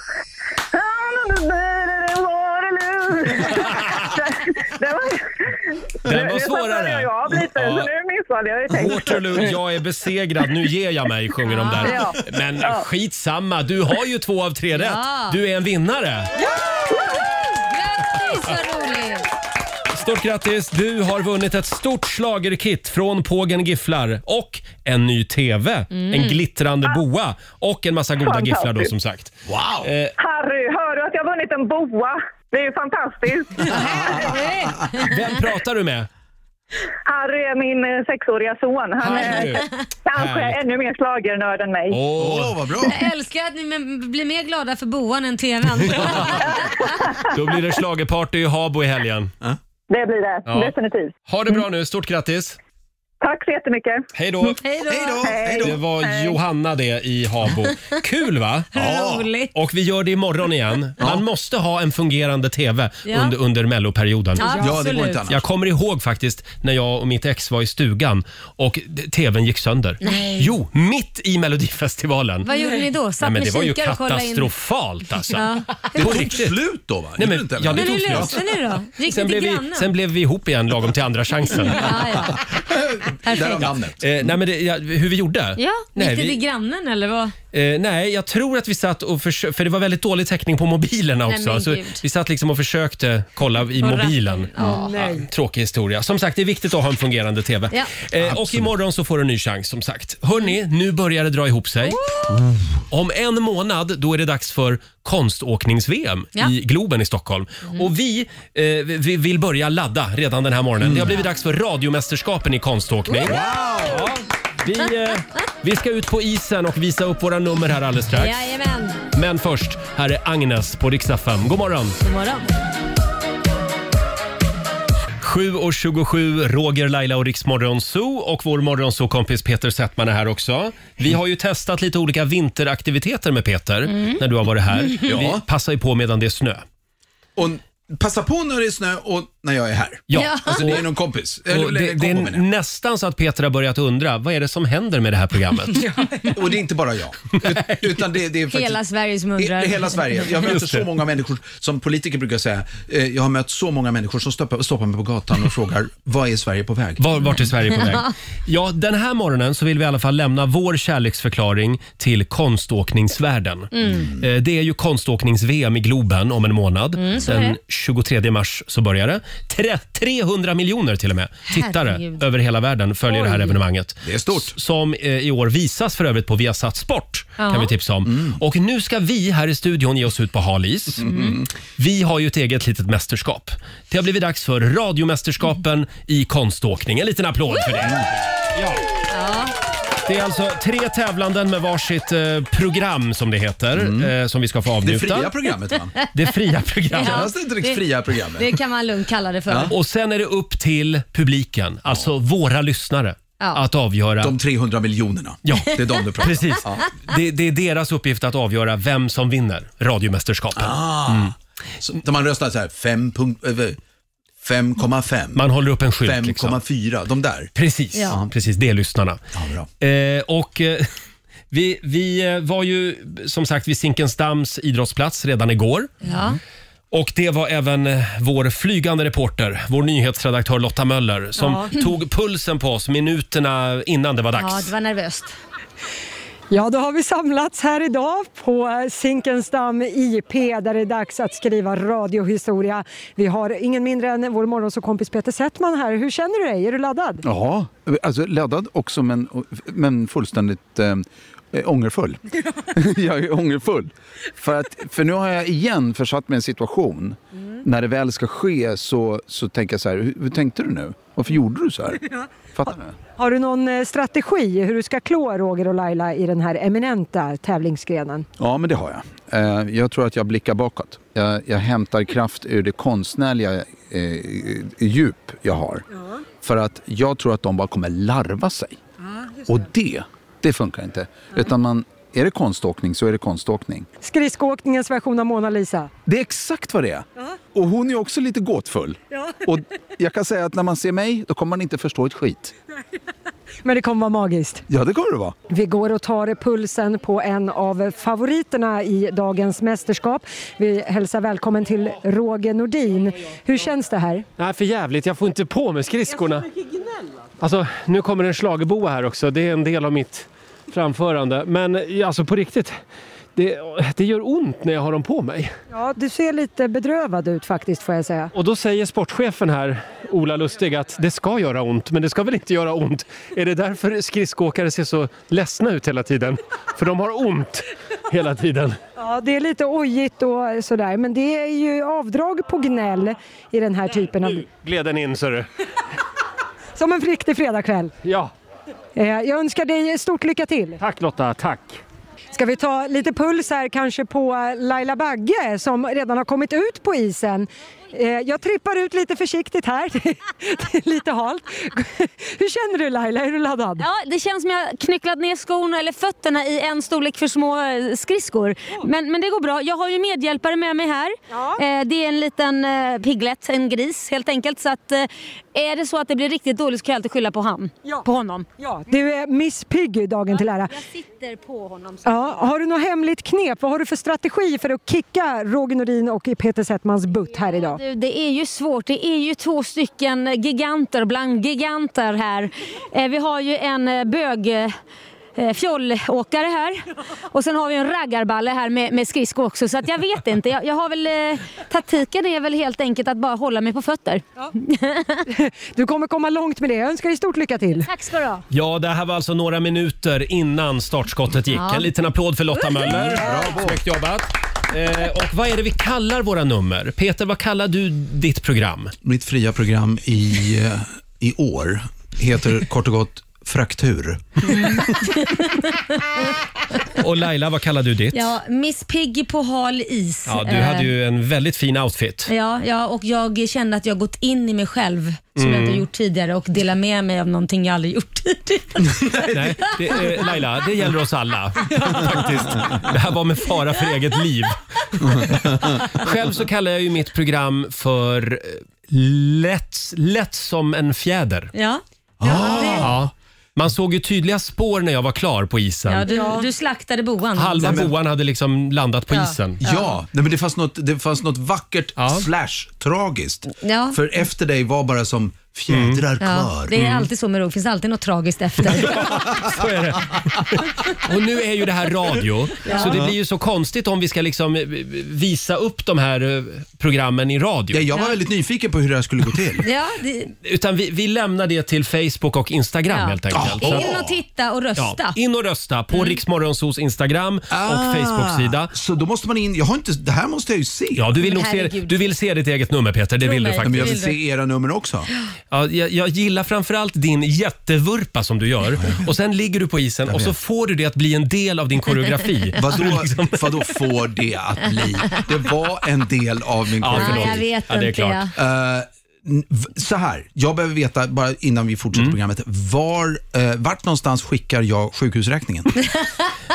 Det var, Den var Nu svårare. tappade jag av lite, så Ja. nu missade jag ju texten. Waterloo, jag är besegrad, nu ger jag mig, sjunger de där. Ja. Men Ja. skitsamma, du har ju två av tre rätt. Ja. Du är en vinnare. Grattis, vad roligt! Stort grattis! Du har vunnit ett stort schlagerkit från Pågen Gifflar och en ny TV, en glittrande boa och en massa goda Mm. Ah. Fantastiskt. gifflar då som sagt. Wow! Eh, Harry, hör du att jag har vunnit en boa? Det är ju fantastiskt. vem pratar du med? Harry är min eh, sexåriga son. Han Harry. är kanske Härligt. ännu mer schlagernörd än mig. Åh, Åh, vad bra. Jag älskar att ni men- blir mer glada för boan än tvn. Då blir det schlagerparty i Habo i helgen. Det blir det, Ja. definitivt. Ha det bra nu, stort grattis! Tack så jättemycket. Hej då! Mm, Hej Hej då! då, hej Det då. var Johanna det i Habo. Kul va? Roligt. Och vi gör det imorgon igen. Man måste ha en fungerande TV Ja. under, under melloperioden. Ja, det går absolut. inte annars. Jag kommer ihåg faktiskt när jag och mitt ex var i stugan och d- TVn gick sönder. Nej. Jo, mitt i Melodifestivalen. Vad gjorde ni då? Nej, Satt men med det var ju kikare och kollade in? katastrofalt alltså. Ja. Det var Det tog riktigt. slut då va? Nej, men- Gjorde det inte, ja, eller? det Men tog hur slut. löste ni då? Gick Sen ni till blev, vi, grannen? sen blev vi ihop igen lagom till andra chansen. Ja, ja. Därav Perfekt. namnet. Eh, nej men det, ja, hur vi gjorde? Ja, nej, gick ni vi- till grannen eller vad? Eh, nej, jag tror att vi satt och försökte, för det var väldigt dålig täckning på mobilerna Nej, också. men så gud. vi satt liksom och försökte kolla i Och ratten. mobilen. Ja. Ja, tråkig historia. Som sagt, det är viktigt att ha en fungerande TV. Ja. Eh, och imorgon så får du en ny chans som sagt. Hörni, nu börjar det dra ihop sig. Om en månad då är det dags för konståknings-VM Ja. Mm. i Globen i Stockholm. Och vi, eh, vi vill börja ladda redan den här morgonen. Mm. Det har blivit dags för radiomästerskapen i konståkning. Ja. Vi, eh, vi ska ut på isen och visa upp våra nummer här alldeles strax. Jajamän, Men först, här är Agnes på Rix FM. God morgon! god morgon. 7.27, Roger, Laila och Riksmorgon Zoo och vår morgonzoo-kompis Peter Settman är här också. Vi har ju testat lite olika vinteraktiviteter med Peter när du har varit här. Vi passar ju på medan det är snö. Och passa på när det är snö och när jag är här. Ja. Alltså det är någon kompis. Eller, Och det, eller, det kombo, är menar nästan så att Peter har börjat undra, vad är det som händer med det här programmet? jag. Och det är inte bara jag. Ut- Utan det, det är faktiskt... Hela Sverige som I- undrar. i Hela Sverige. Jag möter Just det. så många människor, som politiker brukar säga, eh, jag har mött så många människor som stoppar, stoppar mig på gatan och frågar, vad är Sverige på väg? Var, vart är Sverige på väg? Ja, den här morgonen så vill vi i alla fall lämna vår kärleksförklaring till konståkningsvärlden. Mm. Eh, Det är ju konståknings-VM i Globen om en månad. så är den det. 23 mars så börjar det. Tre, 300 miljoner till och med tittare Herregud. över hela världen följer det här evenemanget. Det är stort. S- Som eh, i år visas för övrigt på Viasat Sport, kan Ja. vi tipsa om. Mm. Och nu ska vi här i studion ge oss ut på halis. Mm. Vi har ju ett eget litet mästerskap. Det har blivit dags för radiomästerskapen i konståkning. En liten applåd för det. Ja. Det är alltså tre tävlanden med varsitt eh, program som det heter, eh, som vi ska få Mm. Det avnjuta. fria programmet va? det fria programmet. Ja. Kallas det inte det Det- fria programmet? Det kan man lugnt kalla det för. Och sen är det upp till publiken, alltså våra lyssnare, Ja. att avgöra. De 300 miljonerna. Ja. Det är de du pratar om. Precis. Det, det är deras uppgift att avgöra vem som vinner radiomästerskapen. Ah. Mm. Så, där man röstar så här, fem punkt- över 5,5, Man håller upp en skylt. Liksom. 5,4, de där. Precis. Ja. Precis, det är lyssnarna. Ja, bra. Eh, och eh, vi, vi eh, var ju som sagt vid Zinkensdamms idrottsplats redan igår. Ja. Och det var även eh, vår flygande reporter, vår nyhetsredaktör Lotta Möller, som tog pulsen på oss minuterna innan det var dags. ja, det var nervöst. Ja, då har vi samlats här idag på eh, Zinkensdamm IP där det är dags att skriva radiohistoria. Vi har ingen mindre än vår morgonsåkompis Peter Settman här. Hur känner du dig? Är du laddad? Ja, alltså laddad också men, men fullständigt eh, ångerfull. jag är ångerfull. För, att, för nu har jag igen försatt mig i en situation. När det väl ska ske så, så tänker jag så här, hur, hur tänkte du nu? Varför gjorde du så här? Fattar du? Har du någon eh, strategi hur du ska klå Roger och Laila i den här eminenta tävlingsgrenen? Ja, men det har jag. Eh, Jag tror att jag blickar bakåt. Jag, jag hämtar kraft ur det konstnärliga eh, djup jag har. För att jag tror att de bara kommer larva sig. Och det, det funkar inte. Utan man, är det konståkning så är det konståkning. Skridskoåkningens version av Mona Lisa. Det är exakt vad det är. Och hon är också lite gåtfull. Ja. Och jag kan säga att när man ser mig, då kommer man inte förstå ett skit. Men det kommer vara magiskt. Ja, det kommer det vara. Vi går och tar pulsen på en av favoriterna i dagens mästerskap. Vi hälsar välkommen till Roger Nordin. Hur känns det här? Nej, för jävligt. Jag får inte på mig skridskorna. Alltså, nu kommer en schlagerboa här också. Det är en del av mitt framförande. Men eh, alltså på riktigt, det, det gör ont när jag har dem på mig. Ja, du ser lite bedrövad ut faktiskt får jag säga. Och då säger sportchefen här, Ola Lustig, att det ska göra ont, men det ska väl inte göra ont? Är det därför skridskoåkare ser så ledsna ut hela tiden? För de har ont hela tiden. Ja, det är lite ojigt och sådär, men det är ju avdrag på gnäll i den här typen av... Gled den in, så du. Som en riktig fredagkväll. Ja, Eh, Jag önskar dig stort lycka till. tack Lotta, tack. Ska vi ta lite puls här kanske på eh, Laila Bagge som redan har kommit ut på isen. Eh, Jag trippar ut lite försiktigt här, det är lite halt. Hur känner du Laila, är du laddad? Ja, det känns som jag knycklat ner skorna eller fötterna i en storlek för små eh, skridskor. Men, men det går bra. Jag har ju medhjälpare med mig här. Eh, det är en liten eh, piglet, en gris helt enkelt. Så att, eh, är det så att det blir riktigt dåligt så kan jag alltid skylla på, han, på honom. Ja, Du är Miss Piggy dagen till ära. sitter på honom. Ja, har du något hemligt knep? Vad har du för strategi för att kicka Roger Nordin och Peter Settmans butt här idag? Du, eh, det är ju svårt. Det är ju två stycken giganter bland giganter här. Eh, vi har ju en eh, bög... eh, fjollåkare här och sen har vi en raggarballe här med, med skridsko också så att jag vet inte. Jag, jag har väl, eh, taktiken är väl helt enkelt att bara hålla mig på fötter. Du kommer komma långt med det. Jag önskar dig stort lycka till. Tack ska du ha. Ja, det här var alltså några minuter innan startskottet gick. Ja. En liten applåd för Lotta Möller. Bravo. Snyggt jobbat. Eh, och vad är det vi kallar våra nummer? Peter, vad kallar du ditt program? Mitt fria program i, eh, i år heter kort och gott Fraktur. Och Laila, vad kallar du ditt? Ja, Miss Piggy på hal is. Ja, du hade ju en väldigt fin outfit. Eh, Ja, ja, och jag kände att jag gått in i mig själv som Mm. jag inte gjort tidigare och delar med mig av någonting jag aldrig gjort Nej, det, eh, Laila, det gäller oss alla. Faktiskt. Det här var med fara för eget liv. Själv så kallar jag ju mitt program för eh, lätt, lätt som en fjäder. Ja. Ja. Man såg ju tydliga spår när jag var klar på isen. Ja, du, du slaktade boan. Halva boan hade liksom landat på Ja. isen. Ja. Ja, Nej, men det, fanns något, det fanns något vackert slash tragiskt. Ja. För efter dig var bara som fjädrar Ja, kvar. det är Mm. alltid så med Roger, det finns alltid något tragiskt efter. Så är det. Och nu är ju det här radio, Ja. så det blir ju så konstigt om vi ska liksom eh, visa upp de här eh, programmen i radio. Ja, jag var väldigt nyfiken på hur det här skulle gå till. ja, det, Utan vi, vi lämnar det till Facebook och Instagram Ja. helt enkelt. Så att- In och titta och rösta. Ja, in och rösta på mm. Riksmorgonsos Instagram och Ah, Facebook-sida. Så då måste man in. Jag har inte, det här måste jag ju se. Ja, du vill, Men nog se, herregud. du vill se ditt eget nummer Peter, det Tro vill du mig, faktiskt. Men jag vill det vill se era nummer också. Ja, jag, jag gillar framförallt din jättevurpa som du gör och sen ligger du på isen och så får du det att bli en del av din koreografi. Vadå, Du liksom- vadå får det att bli? Det var en del av min Ja, koreografi. förlåt. Ja, jag vet Ja, det är inte, klart. Eh, n- v- så här, jag behöver veta, bara innan vi fortsätter programmet, var, eh, vart någonstans skickar jag sjukhusräkningen?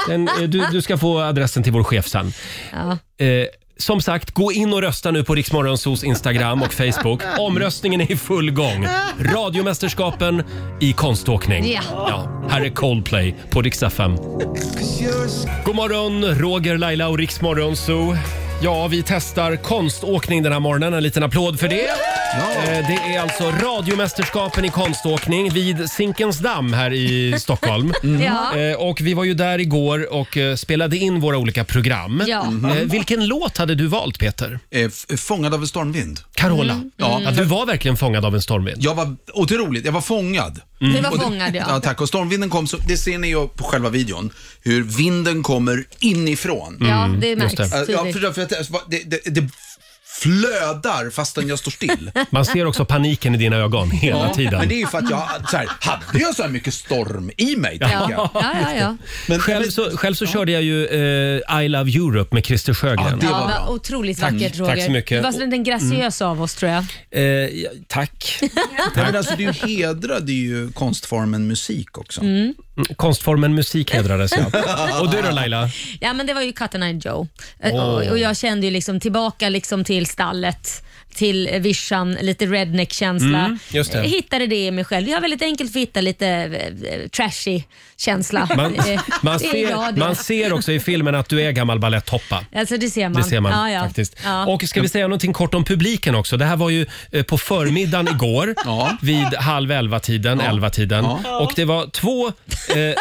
Den, eh, du, du ska få adressen till vår chef sen. Ja. Eh, som sagt, gå in och rösta nu på Riksmorgonsos Instagram och Facebook. Omröstningen är i full gång. Radiomästerskapen i konståkning. Ja. Ja, här är Coldplay på riksdag 5. God morgon, Roger, Laila och Riksmorgonso. Ja, vi testar konståkning den här morgonen. En liten applåd för det. Eh, Det är alltså Radiomästerskapen i konståkning vid Zinkensdamm här i Stockholm. Mm. Ja. Eh, Och vi var ju där igår och eh, spelade in våra olika program. Ja. Mhm. Eh, Vilken låt hade du valt, Peter? Eh, Fångad av en stormvind. Carola. Mm. Ja. Ja, du var verkligen fångad av en stormvind. Jag var otroligt, jag var fångad. Mm. Du var Och det- fångad, ja. ja. Tack. Och stormvinden kom, så, det ser ni ju på själva videon, hur vinden kommer inifrån. Ja, det Mm, märks just det. Ja, tydligt. för, för att, det, det, det flödar fastän jag står still. Man ser också paniken i dina ögon hela Ja, tiden. Men det är ju för att jag, så här, hade jag så här mycket storm i mig? Ja. tänker jag. Ja, ja, ja. själv så, själv så körde jag ju eh, I Love Europe med Christer Sjögren. ja, vad otroligt Tack. vackert Mm. Roger. Tack så mycket. Du var så den graciösa av oss tror jag. Eh, ja, tack. Nej, men alltså, du hedrade ju konstformen musik också. Mm. Konstformen musik hedrades jag. Och du då Laila? Ja, men det var ju Cut and I Joe. Eh, Åh. Och, och jag kände ju liksom tillbaka liksom till stallet, till eh, vischan, lite redneck-känsla. Mm, just det. Eh, Hittade det i mig själv. Jag har väldigt enkelt för att hitta lite eh, trashy känsla. Man, Eh, man, det är jag ser, det. man ser också i filmen att du är gammal baletthoppa. Alltså det ser man. Det ser man Ja, ja. faktiskt. Ja. Och ska vi säga någonting kort om publiken också? Det här var ju eh, på förmiddagen igår vid halv elva-tiden, elva-tiden. Och det var två, eh,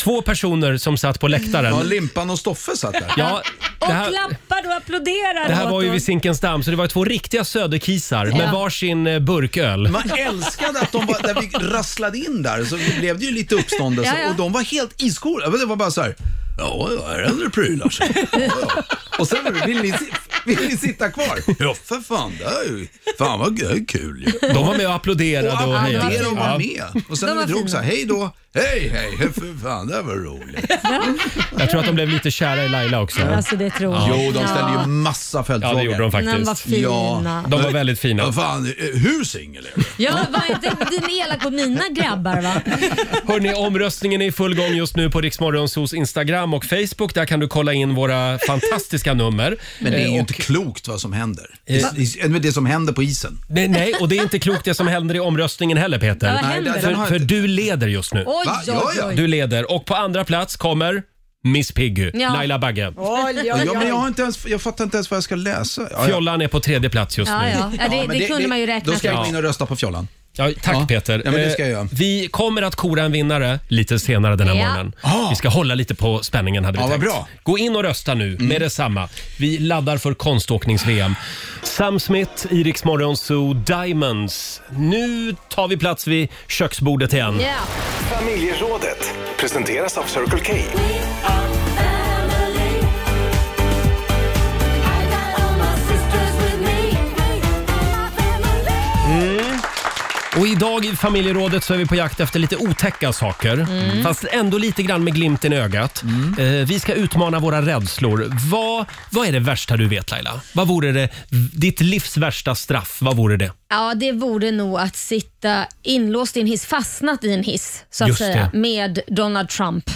två personer som satt på läktaren. Ja, Limpan och Stoffe satt där. Ja, det här, Och klappar och applåderar det här åt var ju oss. vid Zinkensdamm, så det var två riktiga söderkisar Ja. Mm. med varsin eh, burköl. Man älskade att de var, när vi rasslade in där så blev det ju lite uppståndelse Ja, ja. och de var helt iskola. Men Det var bara så här, ja, jag är äldre prylar. så." Ja. Och sen vill ni, si- vill ni sitta kvar? Ja, för fan, det är ju, fan vad det är kul ju. De var med och applåderade och, och hejade. applåderade och Ja. var med. Och sen De när vi var drog fina. så här, hej då, hej hej, för fan det här var roligt. Jag tror att de blev lite kära i Laila också. Alltså det tror jag. Jo, de ställde ju massa följdfrågor. Ja, det gjorde de faktiskt. Men vad fina. Ja, de var väldigt fina. Ja, fan, eh, hur singel är du? Ja, var inte du elak mot mina grabbar va? Hörni, omröstningen är i full gång just nu på Riksmorgonsos Instagram och Facebook. Där kan du kolla in våra fantastiska nummer. Men det är ju Eh, inte klokt vad som händer. Eh. Det, det- det som händer på isen. Nej, nej, och det är inte klokt det som händer i omröstningen heller Peter. Vad händer? Nej, den för, har för inte- du leder just nu. Oj, Va? oj, Ja, ja. oj. Du leder och på andra plats kommer Miss Piggy, Ja. Laila Bagge. Ja, men jag, har inte ens, jag fattar inte ens vad jag ska läsa. Ja, ja. Fjollan är på tredje plats just Ja, nu. ja. Ja, det- Ja, men det det- kunde det- man ju räkna Då ska jag ut. gå in och rösta på Fjollan. Ja, tack Peter. Ja, men det ska jag Eh, göra. Vi kommer att kora en vinnare lite senare den här Ja. morgonen. Vi ska hålla lite på spänningen hade vi Ah. Ja, vad tänkt. bra. Mm. Gå in och rösta nu med detsamma. Vi laddar för konståknings-VM. Sam Smith, Iriks Morgonzoo, Diamonds. Nu tar vi plats vid köksbordet igen. Familjerådet presenteras av Circle K. Mm. Och idag i familjerådet så är vi på jakt efter lite otäcka saker. Mm. Fast ändå lite grann med glimten i ögat. Eh, vi ska utmana våra rädslor. Vad, vad är det värsta du vet Laila? Vad vore det, ditt livs värsta straff, vad vore det? Ja, det vore nog att sitta inlåst i en hiss, fastnat i en hiss så att Just säga, det. med Donald Trump.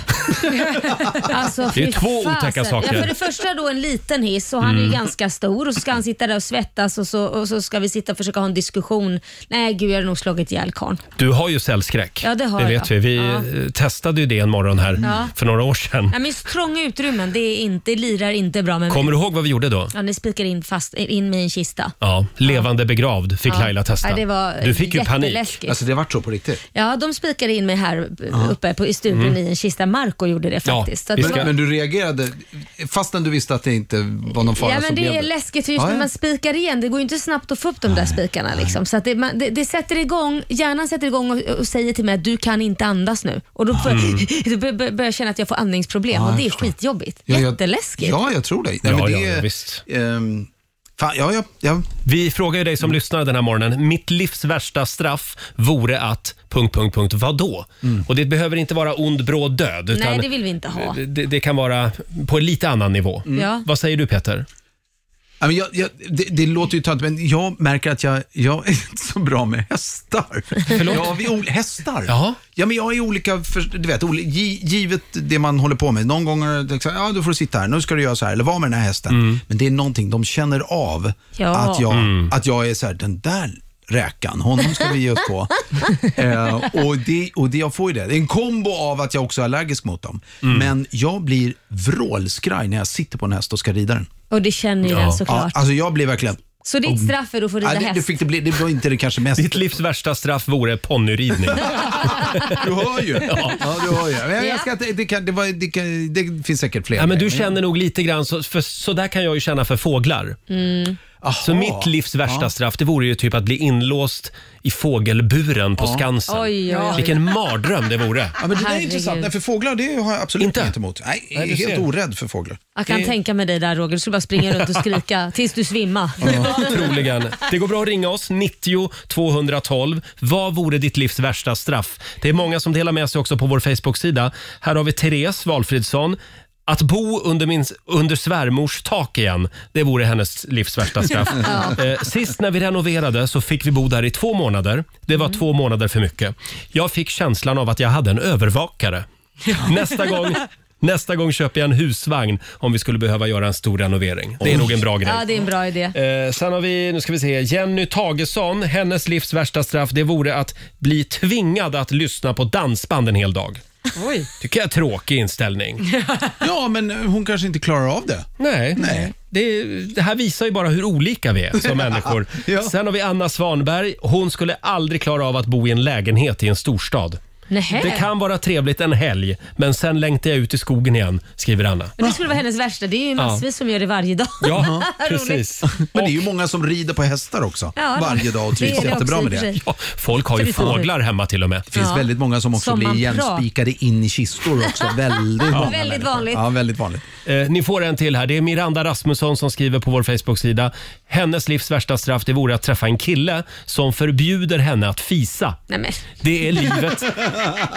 alltså, Det är fy två otäcka saker. Ja, för det första då en liten hiss och han är ju Mm. ganska stor och så ska han sitta där och svettas och så, och så ska vi sitta och försöka ha en diskussion. Nej, gud jag har nog slagit ihjäl karln. Du har ju cellskräck. Ja, det har vet jag. vi. Vi Ja. eh, testade ju det en morgon här Ja. för några år sedan. Ja, men just trånga utrymmen, det, är inte, det lirar inte bra med mig. Kommer du ihåg vad vi gjorde då? Ja, ni spikar in, fast, in mig i en kista. Ja, levande begravd fick Ja. Laila testa. Ja, det var du fick ju panik. jätteläskigt. Alltså, det vart så på riktigt. Ja, de spikade in mig här Ja. uppe på, i studion Mm. i en kista. Marco gjorde det faktiskt. Så att det var- men, men du reagerade fastän du visste att det inte var någon fara Ja, så men det blev är läskigt för just Ja, när ja. man spikar igen, det går ju inte snabbt att få upp de där spikarna. Liksom. Så att det, man, det, det sätter igång, hjärnan sätter igång och, och säger till mig att du kan inte andas nu. Och då, får, Mm. då bör- bör- börjar jag känna att jag får andningsproblem Ja, och jag det är förstår. skitjobbigt. Ja, jag- Jätteläskigt. Ja, jag tror dig. Nej, Ja, men det ja, är, ja, visst. ehm, fan, ja, ja, ja. Vi frågar ju dig som lyssnar den här morgonen. Mitt livs värsta straff vore att... Punkt, punkt, punkt. Vadå? Och det behöver inte vara ond, bråd död. Utan Nej, det vill vi inte ha. det, det kan vara på en lite annan nivå. Mm. Ja. Vad säger du Peter? Ja, men jag, jag, det, det låter ju töntigt, men jag märker att jag, jag är inte så bra med hästar. Förlåt? Ja, vi, ol- hästar? Ja, men jag är olika, för, du vet, oli- gi- givet det man håller på med. Någon gång har det- ja du får du sitta här, nu ska du göra så här, eller var med den här hästen. Men det är någonting de känner av, Ja. att, jag, Mm. att jag är så här, den där räkan, honom ska vi ge oss på. eh, och det, och det, jag får ju det. Det är en kombo av att jag också är allergisk mot dem. Men jag blir vrålskraj när jag sitter på en häst och ska rida den. Och det känner ju den såklart. Alltså jag blev verkligen... Så ditt straff är att få rida Ja, det, det, häst. fick det, bli, det var inte det kanske mest... Ditt livs värsta straff vore ponnyridning. Du hör ju. Ja. Ja, du hör ju. Men jag ska, inte- det, kan, det, var, det, kan, det finns säkert fler. Ja, men du känner nog lite grann, så, för så där kan jag ju känna för fåglar. Mm. Så mitt livs värsta straff det vore ju typ att bli inlåst i fågelburen på Ja. Skansen. Oj, oj, oj. Vilken mardröm det vore. Ja, men det där är intressant. Nej, för fåglar det har jag absolut inget emot. Nej, jag Nej, du är helt ser. orädd för fåglar. Jag kan Det- tänka mig dig där Roger, du skulle bara springa runt och skrika tills du svimmar. Troligen. Det går bra att ringa oss, 90 212. Vad vore ditt livs värsta straff? Det är många som delar med sig också på vår Facebook-sida. Här har vi Therese Valfridsson. Att bo under, min, under svärmors tak igen, det vore hennes livs värsta straff. Ja. Eh, Sist när vi renoverade så fick vi bo där i två månader. Det Mm. var två månader för mycket. Jag fick känslan av att jag hade en övervakare. Nästa gång, nästa gång köper jag en husvagn om vi skulle behöva göra en stor renovering. Det är nog en bra grej. Ja, det är en bra idé. Eh, sen har vi, nu ska vi se, Jenny Tagesson. Hennes livs värsta straff det vore att bli tvingad att lyssna på dansband en hel dag. Oj. Tycker jag är tråkig inställning. Ja, men eh, hon kanske inte klarar av det. Nej. Nej. Det, det här visar ju bara hur olika vi är som människor. Sen har vi Anna Svanberg. Hon skulle aldrig klara av att bo i en lägenhet i en storstad. Nähä. Det kan vara trevligt en helg, men sen längtar jag ut i skogen igen, skriver Anna. Men det skulle vara hennes värsta. Det är ju massvis som gör det varje dag. Ja, Roligt. precis. Men det är ju många som rider på hästar också. Ja, det- varje dag och det är trivs det jättebra också i med och för det. sig. Ja, folk har Så ju vi får väl- fåglar hemma till och med. Det finns Ja. väldigt många som också Som man blir drar. igenspikade in i kistor också. Väldigt Ja. många Väldigt människor. vanligt. Ja, väldigt vanligt. Eh, ni får en till här. Det är Miranda Rasmusson som skriver på vår Facebook-sida. Hennes livs värsta straff det vore att träffa en kille som förbjuder henne att fisa. Nej, men. Det är, livet,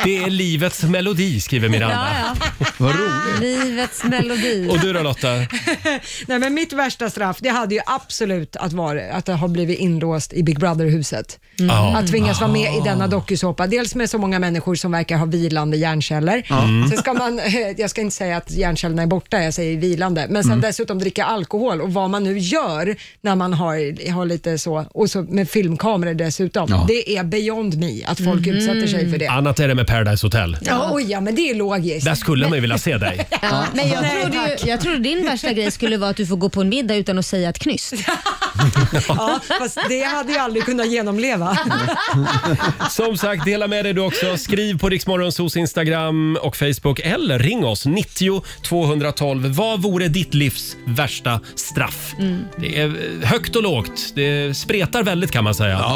det är livets melodi, skriver Miranda. Ja, ja. Vad roligt. Livets melodi. Och du då Lotta? Nej, men mitt värsta straff det hade ju absolut att vara att ha blivit inlåst i Big Brother-huset. Mm. Ah. Ja. Att tvingas vara med i denna dokusåpa. Dels med så många människor som verkar ha vilande hjärnceller. Ja. Mm. Sen ska man, jag ska inte säga att hjärncellerna är borta, jag säger vilande. Men sen Mm. dessutom dricka alkohol och vad man nu gör när man har, har lite så, och så med filmkameror dessutom. Ja. Det är beyond me att folk Mm. Mhm. utsätter sig för det. Ah. Annat är det med Paradise Hotel. Ja, oj, ja, men det är logiskt. Där skulle man ju vilja se dig. Ja, men jag Nej, trodde, ju, jag trodde din värsta grej skulle vara att du får gå på en middag utan att säga ett knyst. Ja, fast det hade jag aldrig kunnat genomleva. Som sagt, dela med dig du också. Skriv på Riksmorgonsos Instagram och Facebook eller ring oss 90 212. Vad vore ditt livs värsta straff? Mm. Det är eh, högt och lågt. Det spretar väldigt kan man säga.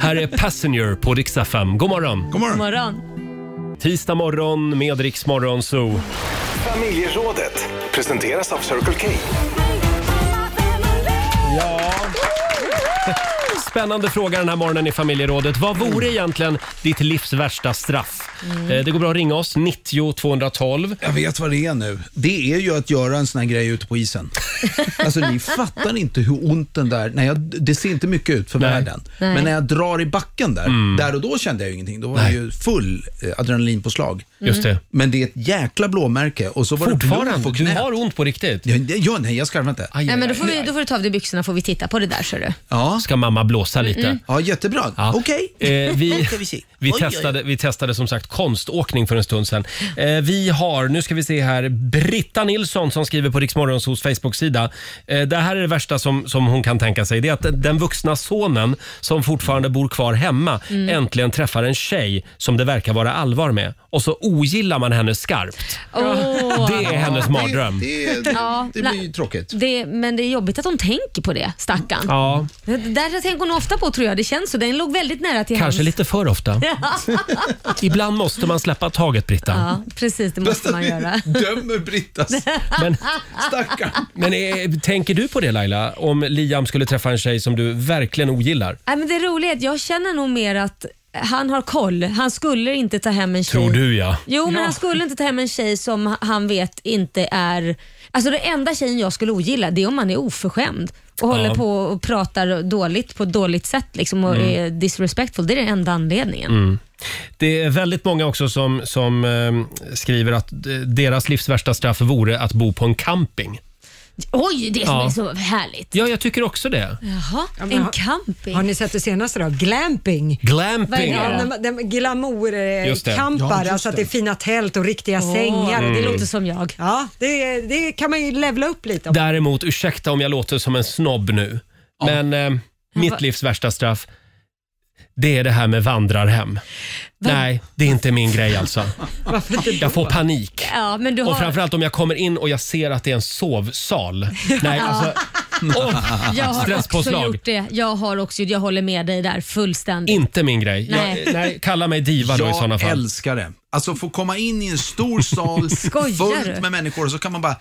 Här är Passenger på Rix FM. God morgon! God God morgon. Tisdag morgon med Rix Morgon Zoo. Familjerådet presenteras av Circle K. Ja. Spännande fråga den här morgonen i familjerådet. Vad vore Mm. egentligen ditt livs värsta straff? Eh, Det går bra att ringa oss, 90 212. Mm. Jag vet vad det är nu. Det är ju att göra en sån här grej ute på isen. Alltså ni fattar inte hur ont den där... Nej, jag, det ser inte mycket ut för världen. Nej. Men när jag drar i backen där, Mm. där och då kände jag ju ingenting. Då var jag ju full eh, adrenalinpåslag. Just det. Men det är ett jäkla blåmärke och så var det Fortfarande? blod på Du knät. har ont på riktigt? Ja, det- ja nej jag skarvar inte. Nej, men då, får vi, då får du ta av dig byxorna får vi titta på det där. Ser du. Ja. Ska mamma blåsa lite? Mm. Ja, jättebra. Okej. Eh, vi, Ska vi se. vi, Oj, oj, oj. testade, vi testade som sagt konståkning för en stund sedan. Eh, vi har, nu ska vi se här, Britta Nilsson som skriver på Riksmorgonsos Facebook-sida. Eh, det här är det värsta som, som hon kan tänka sig. Det är att den vuxna sonen som fortfarande bor kvar hemma Mm. äntligen träffar en tjej som det verkar vara allvar med. Och så ogillar man henne skarpt. Åh. Det är hennes mardröm. Ja, na- tråkigt. det, men det är jobbigt att hon tänker på det, stackarn. Ja, Det där tänker hon ofta på tror jag. Det känns så. Den låg väldigt nära till kanske lite för ofta. hans. Ibland måste man släppa taget, Britta. Ja, precis. Det måste man göra. Dömer Brittas. Men- Stackarn. Men eh, tänker du på det Laila, om Liam skulle träffa en tjej som du verkligen ogillar? Nej, men det roliga är att jag känner nog mer att han har koll. Han skulle inte ta hem en tjej. Tror du ja. Jo, men han skulle inte ta hem en tjej som han vet inte är... Alltså den enda tjejen jag skulle ogilla det är om man är oförskämd och Ja. håller på och pratar dåligt på ett dåligt sätt liksom, och Mm. är disrespectful. Det är den enda anledningen. Mm. Det är väldigt många också som, som eh, skriver att eh, deras livs värsta straff vore att bo på en camping. Oj, det som Ja. är så härligt. Ja, jag tycker också det. Jaha, men en har- camping. Har ni sett det senaste då? Glamping. Glamping. Ja, när man- den- Just det. Glamour-campar, Ja, just alltså att det är det. fina tält och riktiga Åh, sängar. det Mm. låter som jag. Ja, det, det kan man ju levla upp lite. om. Däremot, ursäkta om jag låter som en snobb nu, men eh, mitt livs värsta straff det är det här med vandrarhem. Nej, det är inte min grej alltså. Jag får panik. Ja, men du Och har... framförallt om jag kommer in och jag ser att det är en sovsal. Nej, Ja. alltså, Och jag har också Stresspåslag. gjort det. Jag har också Jag håller med dig där fullständigt. Inte min grej. Nej. Jag, nej, kalla mig diva då i Jag sådana fall. älskar det. Alltså få komma in i en stor sal Skojar du? fullt med människor och så kan man bara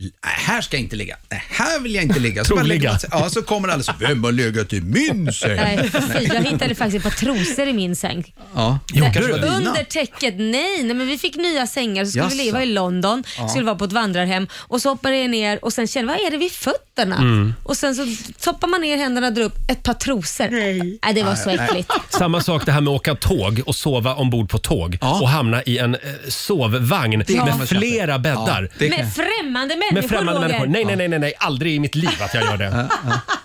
"Nej, här ska jag inte ligga. Nej, här vill jag inte ligga. Så, bara Troligga. lägger man sig- ja, så kommer alla så, vem har legat i min säng? Nej, fy, jag hittade faktiskt ett par trosor i min säng. Ja, Nej, kanske var dina. Under täcket, nej, nej men vi fick nya sängar så skulle Jaså. vi leva i London, Ja. skulle vara på ett vandrarhem och så hoppade jag ner och sen kände vad är det vid fötterna? Mm. Och sen så toppar man ner händerna och drar upp ett par trosor. Nej, det var så äckligt. Samma sak det här med att åka tåg och sova ombord på tåg och hamna i en eh, sovvagn kan man med köpa. flera bäddar. Med främmande människor Med främmande Roger. människor. Nej, nej, nej, nej, nej, aldrig i mitt liv att jag gör det.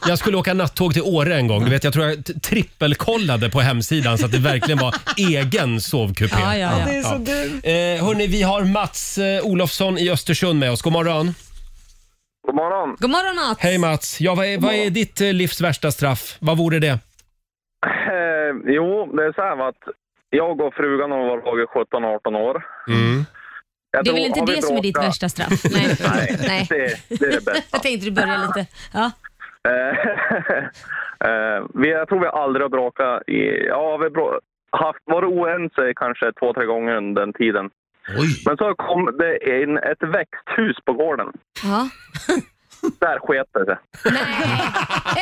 Jag skulle åka nattåg till Åre en gång. Du vet, jag tror jag t- trippelkollade på hemsidan så att det verkligen var egen sovkupé. Ja, ja, ja. Ja, det är så du. Eh, hörni, vi har Mats eh, Olofsson i Östersund med oss. God morgon. God morgon. God morgon Mats. Hej Mats. Ja, vad, är, vad är ditt eh, livs värsta straff? Vad vore det? Eh, jo, det är så här va, att jag och frugan har varit lager 17-18 år. Jag Det är tror- väl inte har vi det som är ditt bråkat- värsta straff? Nej. Nej, Nej. Det, det är det bästa. Jag tänkte du börjar lite. Ja. Eh, eh, vi, jag tror vi aldrig har bråkat. I, ja, vi har brå, haft, varit oense kanske två, tre gånger under den tiden. Men så kom det in ett växthus på gården. Ja. Där sket det sig.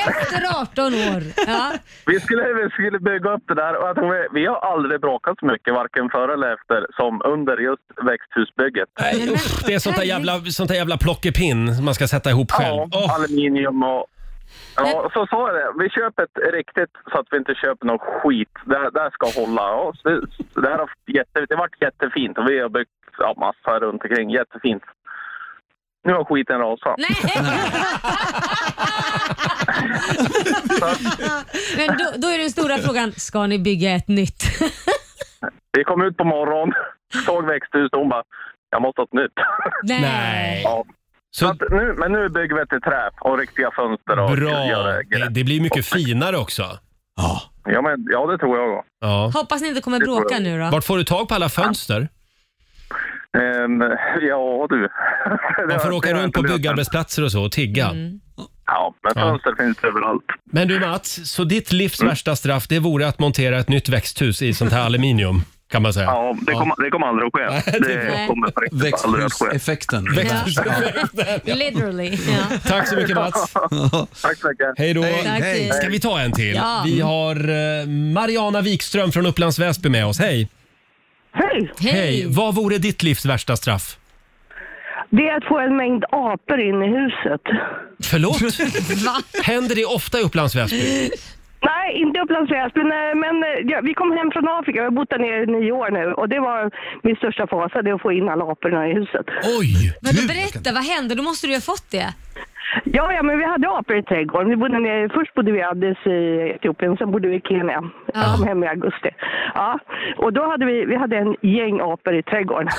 Efter 18 år. Ja. Vi skulle, vi skulle bygga upp det där och jag tror vi, vi har aldrig bråkat så mycket, varken före eller efter, som under just växthusbygget. Nej, usch, det är sånt där jävla, sånt där jävla plockepinn som man ska sätta ihop själv. Ja, aluminium och... Ja, så sa jag det. Vi köper ett riktigt så att vi inte köper någon skit. Det, här- det här ska hålla. Ja, så det, så det här har varit jätte, det har varit jättefint och vi har byggt ja, massa runt omkring. Jättefint. Nu har skiten rasat. Men då, då är den stora frågan, ska ni bygga ett nytt? Vi kom ut på morgonen, såg växthuset och hon bara, jag måste ha ett nytt. Nej. Ja. Så att nu, men nu bygger vi ett i trä och riktiga fönster. Och Bra! gör Det, det blir mycket finare också. Ja, men, ja, det tror jag. Ja. Hoppas ni inte kommer bråka nu då. Vart får du tag på alla fönster? Ehm, ja, du. Varför åka runt på byggarbetsplatser och så och tigga? Mm. Ja, men Ja. fönster finns överallt. Men du Mats, så ditt Mm. livs värsta straff det vore att montera ett nytt växthus i sånt här aluminium kan man säga? Ja, det kommer, det kommer aldrig att ske. Det Eh, kommer faktiskt aldrig att ske. Växthuseffekten. Literally. Ja. Tack så mycket Mats. Tack så mycket. Hej då. Hej, Tack. hej. Ska vi ta en till? Ja. Vi har eh, Mariana Wikström från Upplands Väsby med oss. Hej! Hej! Hej! Vad vore ditt livs värsta straff? Det är att få en mängd apor in i huset. Förlåt? Händer det ofta i Upplands Väsby? Nej, inte i Upplands Väsby, men, men eh, ja, vi kom hem från Afrika. Jag har bott där nere i nio år nu och det var min största fasa, det att få in alla aporna i huset. Oj! Men då berätta, vad hände? Då måste du ju ha fått det. Ja, ja, men vi hade apor i trädgården. Vi bodde nere, först bodde vi i Addis i Etiopien, sen bodde vi i Kenya. Jag kom hem i augusti. Ja, och då hade vi, vi hade en gäng apor i trädgården.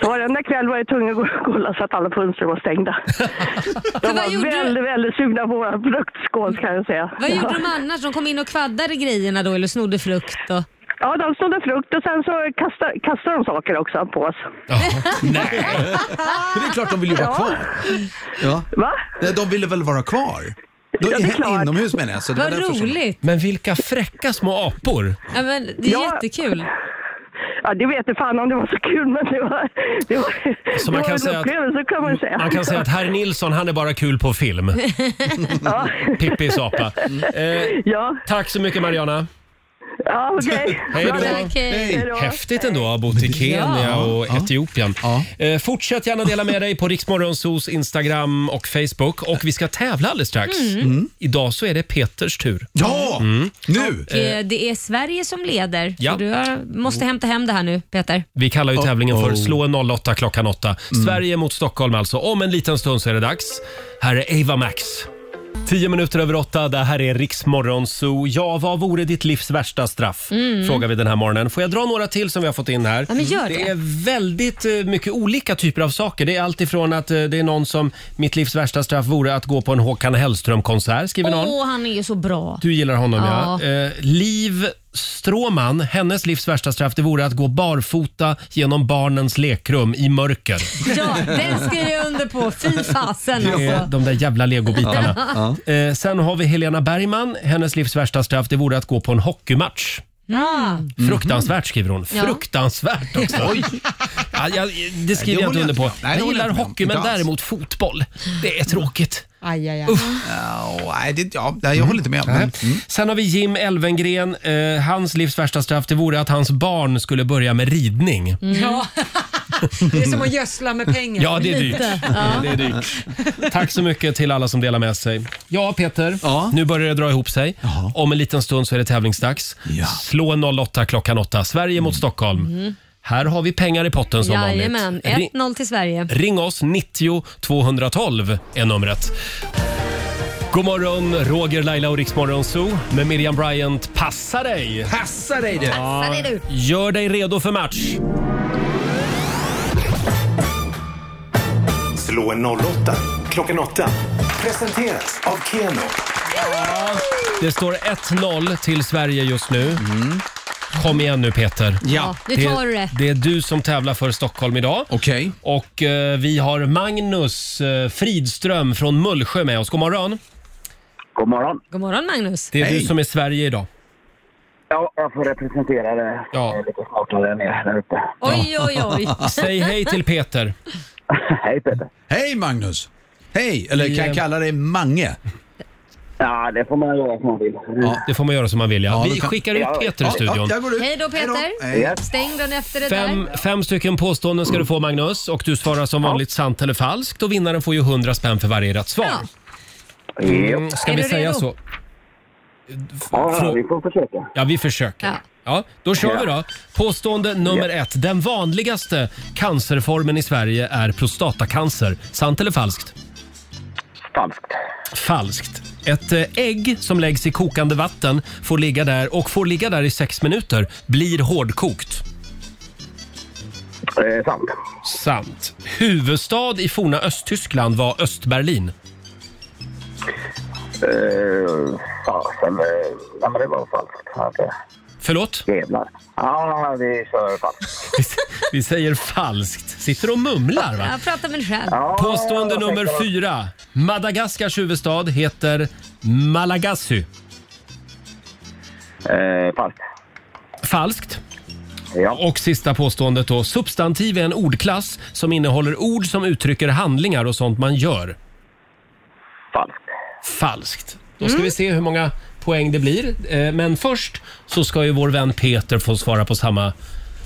Så varenda kväll var jag tvungen att gå och kolla så att alla fönster var stängda. De var väldigt, väldigt sugna på vår fruktskål kan jag säga. Vad Ja. gjorde de annars? De kom in och kvaddade grejerna då eller snodde frukt? Och... Ja, de snodde frukt och sen så kastade, kastade de saker också på oss. Men det är klart de vill ju vara kvar. Ja. Va? De ville väl vara kvar? De, Ja, det är klart. Inomhus menar jag. Så det Vad var därför som- roligt. Men vilka fräcka små apor! Ja, men det är Ja. jättekul. Ja, det vet jag fan om det var så kul, men det var, det var, Så det man var kan en säga att- Mm, upplevelse kan man säga. Man kan säga att herr Nilsson, han är bara kul på film. Ja. Pippis apa. Eh, ja. Tack så mycket Mariana. Ja, okej. Hej Bra, då. tack. Hej då. Häftigt ändå att ha bott i Kenya Ja. och Etiopien. Eh, fortsätt gärna dela med dig på Riksmorgonsos Instagram och Facebook. Och vi ska tävla alldeles strax. Mm. Mm. Idag så är det Peters tur. Ja! Mm. Nu! Och, eh, Det är Sverige som leder. ja. Så du har- måste hämta hem det här nu, Peter. Vi kallar ju tävlingen för Uh-oh. Slå en 08 klockan 8. Sverige mot Stockholm alltså. Om en liten stund så är det dags. Här är Ava Max. 10 minuter över åtta, det här är Riksmorgon Zoo. Ja, vad vore ditt livs värsta straff? Mm. Frågar vi den här morgonen. Får jag dra några till som vi har fått in här? Ja, men gör det det. är väldigt eh, mycket olika typer av saker. Det är allt ifrån att eh, det är någon som, mitt livs värsta straff vore att gå på en Håkan Hellström-konsert, skriver någon. Åh, han är ju så bra. Du gillar honom ja. Ja. Eh, liv Stråman, hennes livs värsta straff, det vore att gå barfota genom barnens lekrum i mörker. Ja, den skriver jag under på. Fy fasen Det är alltså. de där jävla legobitarna. Ja. Eh, sen har vi Helena Bergman. Hennes livs värsta straff det vore att gå på en hockeymatch. Ja. Fruktansvärt skriver hon. Mhm. Ja. Fruktansvärt också. Oj. Ja, jag, det skriver Nej, jag det inte håller under på. jag- nej, det Jag håller gillar jag inte med om. hockey men Inte alls. Mm. däremot fotboll. Det är tråkigt. Aj, aj, aj. Uff. nej, det, ja, nej, jag håller inte med. Men, Nej. Mm. Sen har vi Jim Elvengren. Eh, hans livs värsta straff det vore att hans barn skulle börja med ridning. Ja. Det är som att gödsla med pengar. Ja, det är dyrt. Lite. Ja, Det är dyrt. Tack så mycket till alla som delar med sig. Ja, Peter. Nu börjar det dra ihop sig. Om en liten stund så är det tävlingsdags. Slå 08 klockan 8. Sverige mot Stockholm. Mm. Här har vi pengar i potten som Jajamän, vanligt. Ring- 1-0 till Sverige. Ring oss, 90 212 är numret. God morgon, Roger, Laila och Riksmorgon Zoo med Miriam Bryant. Passa dig! Passa dig du! Passa dig, du. Gör dig redo för match. Slå en 08 klockan 8. Presenteras av Keno. Det står 1-0 till Sverige just nu. Kom igen nu Peter. Ja, nu tar du det. Det är du som tävlar för Stockholm idag. Okej. Och eh, vi har Magnus eh, Fridström från Mullsjö med oss. God morgon. God morgon. God morgon Magnus. Det är du som är Sverige idag. Ja, jag får representera det. Jag är lite smartare än er där uppe. Oj, oj, oj. Säg hej till Peter. hej Peter. Hej Magnus! Hej! Eller eh, kan jag kalla dig Mange? Ja, det får man göra som man vill. Ja, mm, det får man göra som man vill. Ja. Ja, vi då kan- skickar ut Ja, Peter ja, i studion. ja, jag Hej då Hej då. Peter. Stäng den efter det Fem, där. fem stycken påståenden ska du få Magnus och du svarar som vanligt sant eller falskt och vinnaren får ju 100 spänn för varje rätt svar. Mm, ska Är vi du säga redo? så? Ja, Frå- vi får försöka. Ja, vi försöker. Ja. då kör vi då. Påstående nummer ett. Den vanligaste cancerformen i Sverige är prostatacancer. Sant eller falskt? Falskt. Falskt. Ett eh, ägg som läggs i kokande vatten får ligga där och får ligga där i sex minuter blir hårdkokt. Eh, sant. Sant. Huvudstad i forna Östtyskland var Östberlin. Eh, fasen. eh, Ja, men det var falskt. Ja, det- Förlåt? Jävlar. Ja, vi kör falskt. Vi säger falskt. Sitter och mumlar va? Jag pratar med dig själv. Påstående nummer fyra. Madagaskars huvudstad heter Malagasy. Eh, falskt. Falskt. Och sista påståendet då. Substantiv är en ordklass som innehåller ord som uttrycker handlingar och sånt man gör. Falskt. Falskt. Då ska vi se hur många poäng det blir. Eh, Men först så ska ju vår vän Peter få svara på samma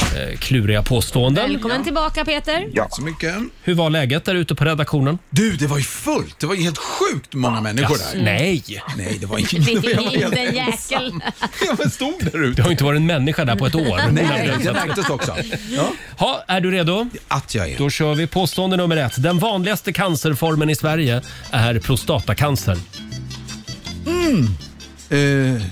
eh, kluriga påståenden. Välkommen tillbaka Peter. Ja. Så mycket. Hur var läget där ute på redaktionen? Du, det var ju fullt. Det var ju helt sjukt många människor Jaså, där. nej. Nej, det var Det inte... är inte en jäkel. Jag stod där ute. Det har ju inte varit en människa där på ett år. Nej, det märktes också. Ja. Ha, är du redo? Att jag är. Då kör vi påstående nummer ett. Den vanligaste cancerformen i Sverige är prostatacancer. Mm. Eh,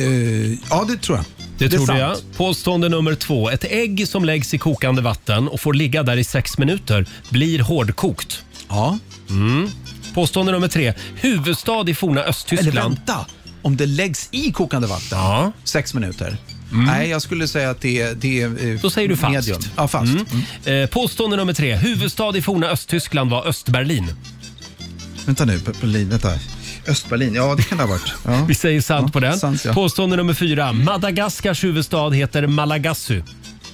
eh, ja, det tror jag. Det, är tror du ja. sant. Påstående nummer två. Ett ägg som läggs i kokande vatten och får ligga där i sex minuter blir hårdkokt. Ja. Mm. Påstående nummer tre. Huvudstad i forna Östtyskland. Eller vänta, om det läggs i kokande vatten, sex minuter. Nej, jag skulle säga att det, det är eh, Mm. Då säger du falskt. medium. Ja, falskt. Mm. Eh, påstående nummer tre. Huvudstad i forna Östtyskland var Östberlin. Vänta nu, Berlin, vänta. Östberlin, ja det kan det ha varit. Ja. Vi säger sant på den. sant, ja. Påstående nummer fyra. Madagaskars huvudstad heter Malagasy.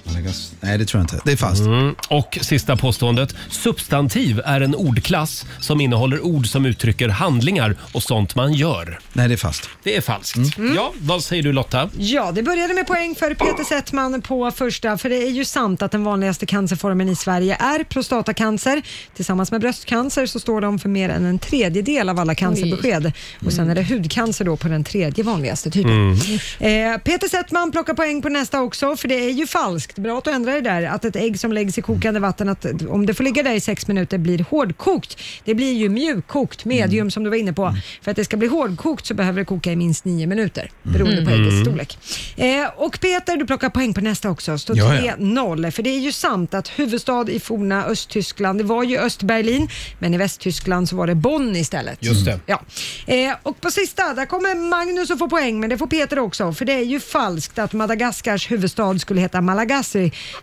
Malagas- Nej, det tror jag inte. Det är falskt. Mm. Och sista påståendet. Substantiv är en ordklass som innehåller ord som uttrycker handlingar och sånt man gör. Nej, det är falskt. Det är falskt. Mm. Ja, vad säger du Lotta? Ja, det började med poäng för Peter Settman på första, för det är ju sant att den vanligaste cancerformen i Sverige är prostatacancer. Tillsammans med bröstcancer så står de för mer än en tredjedel av alla cancerbesked. Och sen är det hudcancer då på den tredje vanligaste typen. Eh, Peter Settman plockar poäng på nästa också, för det är ju falskt. friskt. Bra att du ändrar det där. Att ett ägg som läggs i kokande vatten, att om det får ligga där i sex minuter, blir hårdkokt. Det blir ju mjukkokt, medium Mm. som du var inne på. För att det ska bli hårdkokt så behöver det koka i minst nio minuter, beroende Mm. på äggets Mm. storlek. Eh, och Peter, du plockar poäng på nästa också. Står Ja, ja. 3-0. För det är ju sant att huvudstad i forna Östtyskland, det var ju Östberlin, men i Västtyskland så var det Bonn istället. Just det. Ja. Eh, och på sista, där kommer Magnus att få poäng, men det får Peter också. För det är ju falskt att Madagaskars huvudstad skulle heta Malagasy.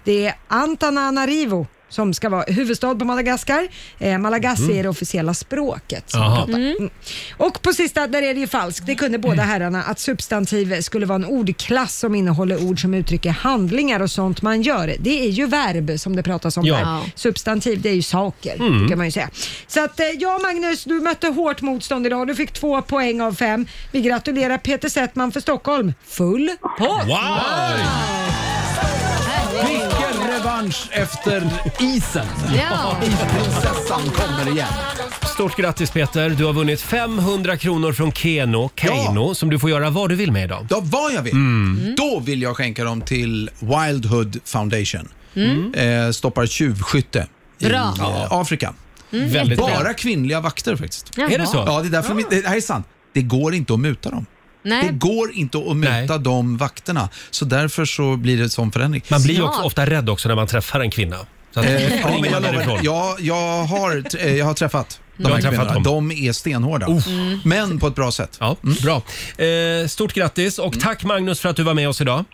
Det är Antananarivo som ska vara huvudstad på Madagaskar. Eh, Malagasy Mm. är det officiella språket. som Jaha. pratar. Mm. Mm. Och på sista, där är det ju falskt. Det kunde båda herrarna att substantiv skulle vara en ordklass som innehåller ord som uttrycker handlingar och sånt man gör. Det är ju verb som det pratas om Ja. här. Substantiv, det är ju saker, Mm. kan man ju säga. Så att, eh, ja Magnus, du mötte hårt motstånd idag. Du fick två poäng av fem. Vi gratulerar Peter Settman för Stockholm. Full pott! Vilken revansch efter isen. Ja. Isprinsessan kommer igen. Stort grattis Peter, du har vunnit 500 kronor från Keno, Keino, som du får göra vad du vill med idag. Ja, vad jag vill. Mm. Då vill jag skänka dem till Wildhood Foundation. Mm. Eh, stoppar tjuvskytte i Bra. eh, Afrika. Mm, Väldigt Bara bra. kvinnliga vakter faktiskt. Jaha. Är det så? Ja, det är därför mitt, det här är sant. Det går inte att muta dem. Nej. Det går inte att muta de vakterna. Så därför så blir det en sån förändring. Man blir ju också ofta rädd också när man träffar en kvinna. Så att Eh, ja, springer men jag, man lovar, därifrån. jag, jag, har, t- eh, jag har träffat Du de har här träffat kvinnorna. De är stenhårda. Uff. Men på ett bra sätt. Ja, bra. Eh, stort grattis Mm. och tack Magnus för att du var med oss idag.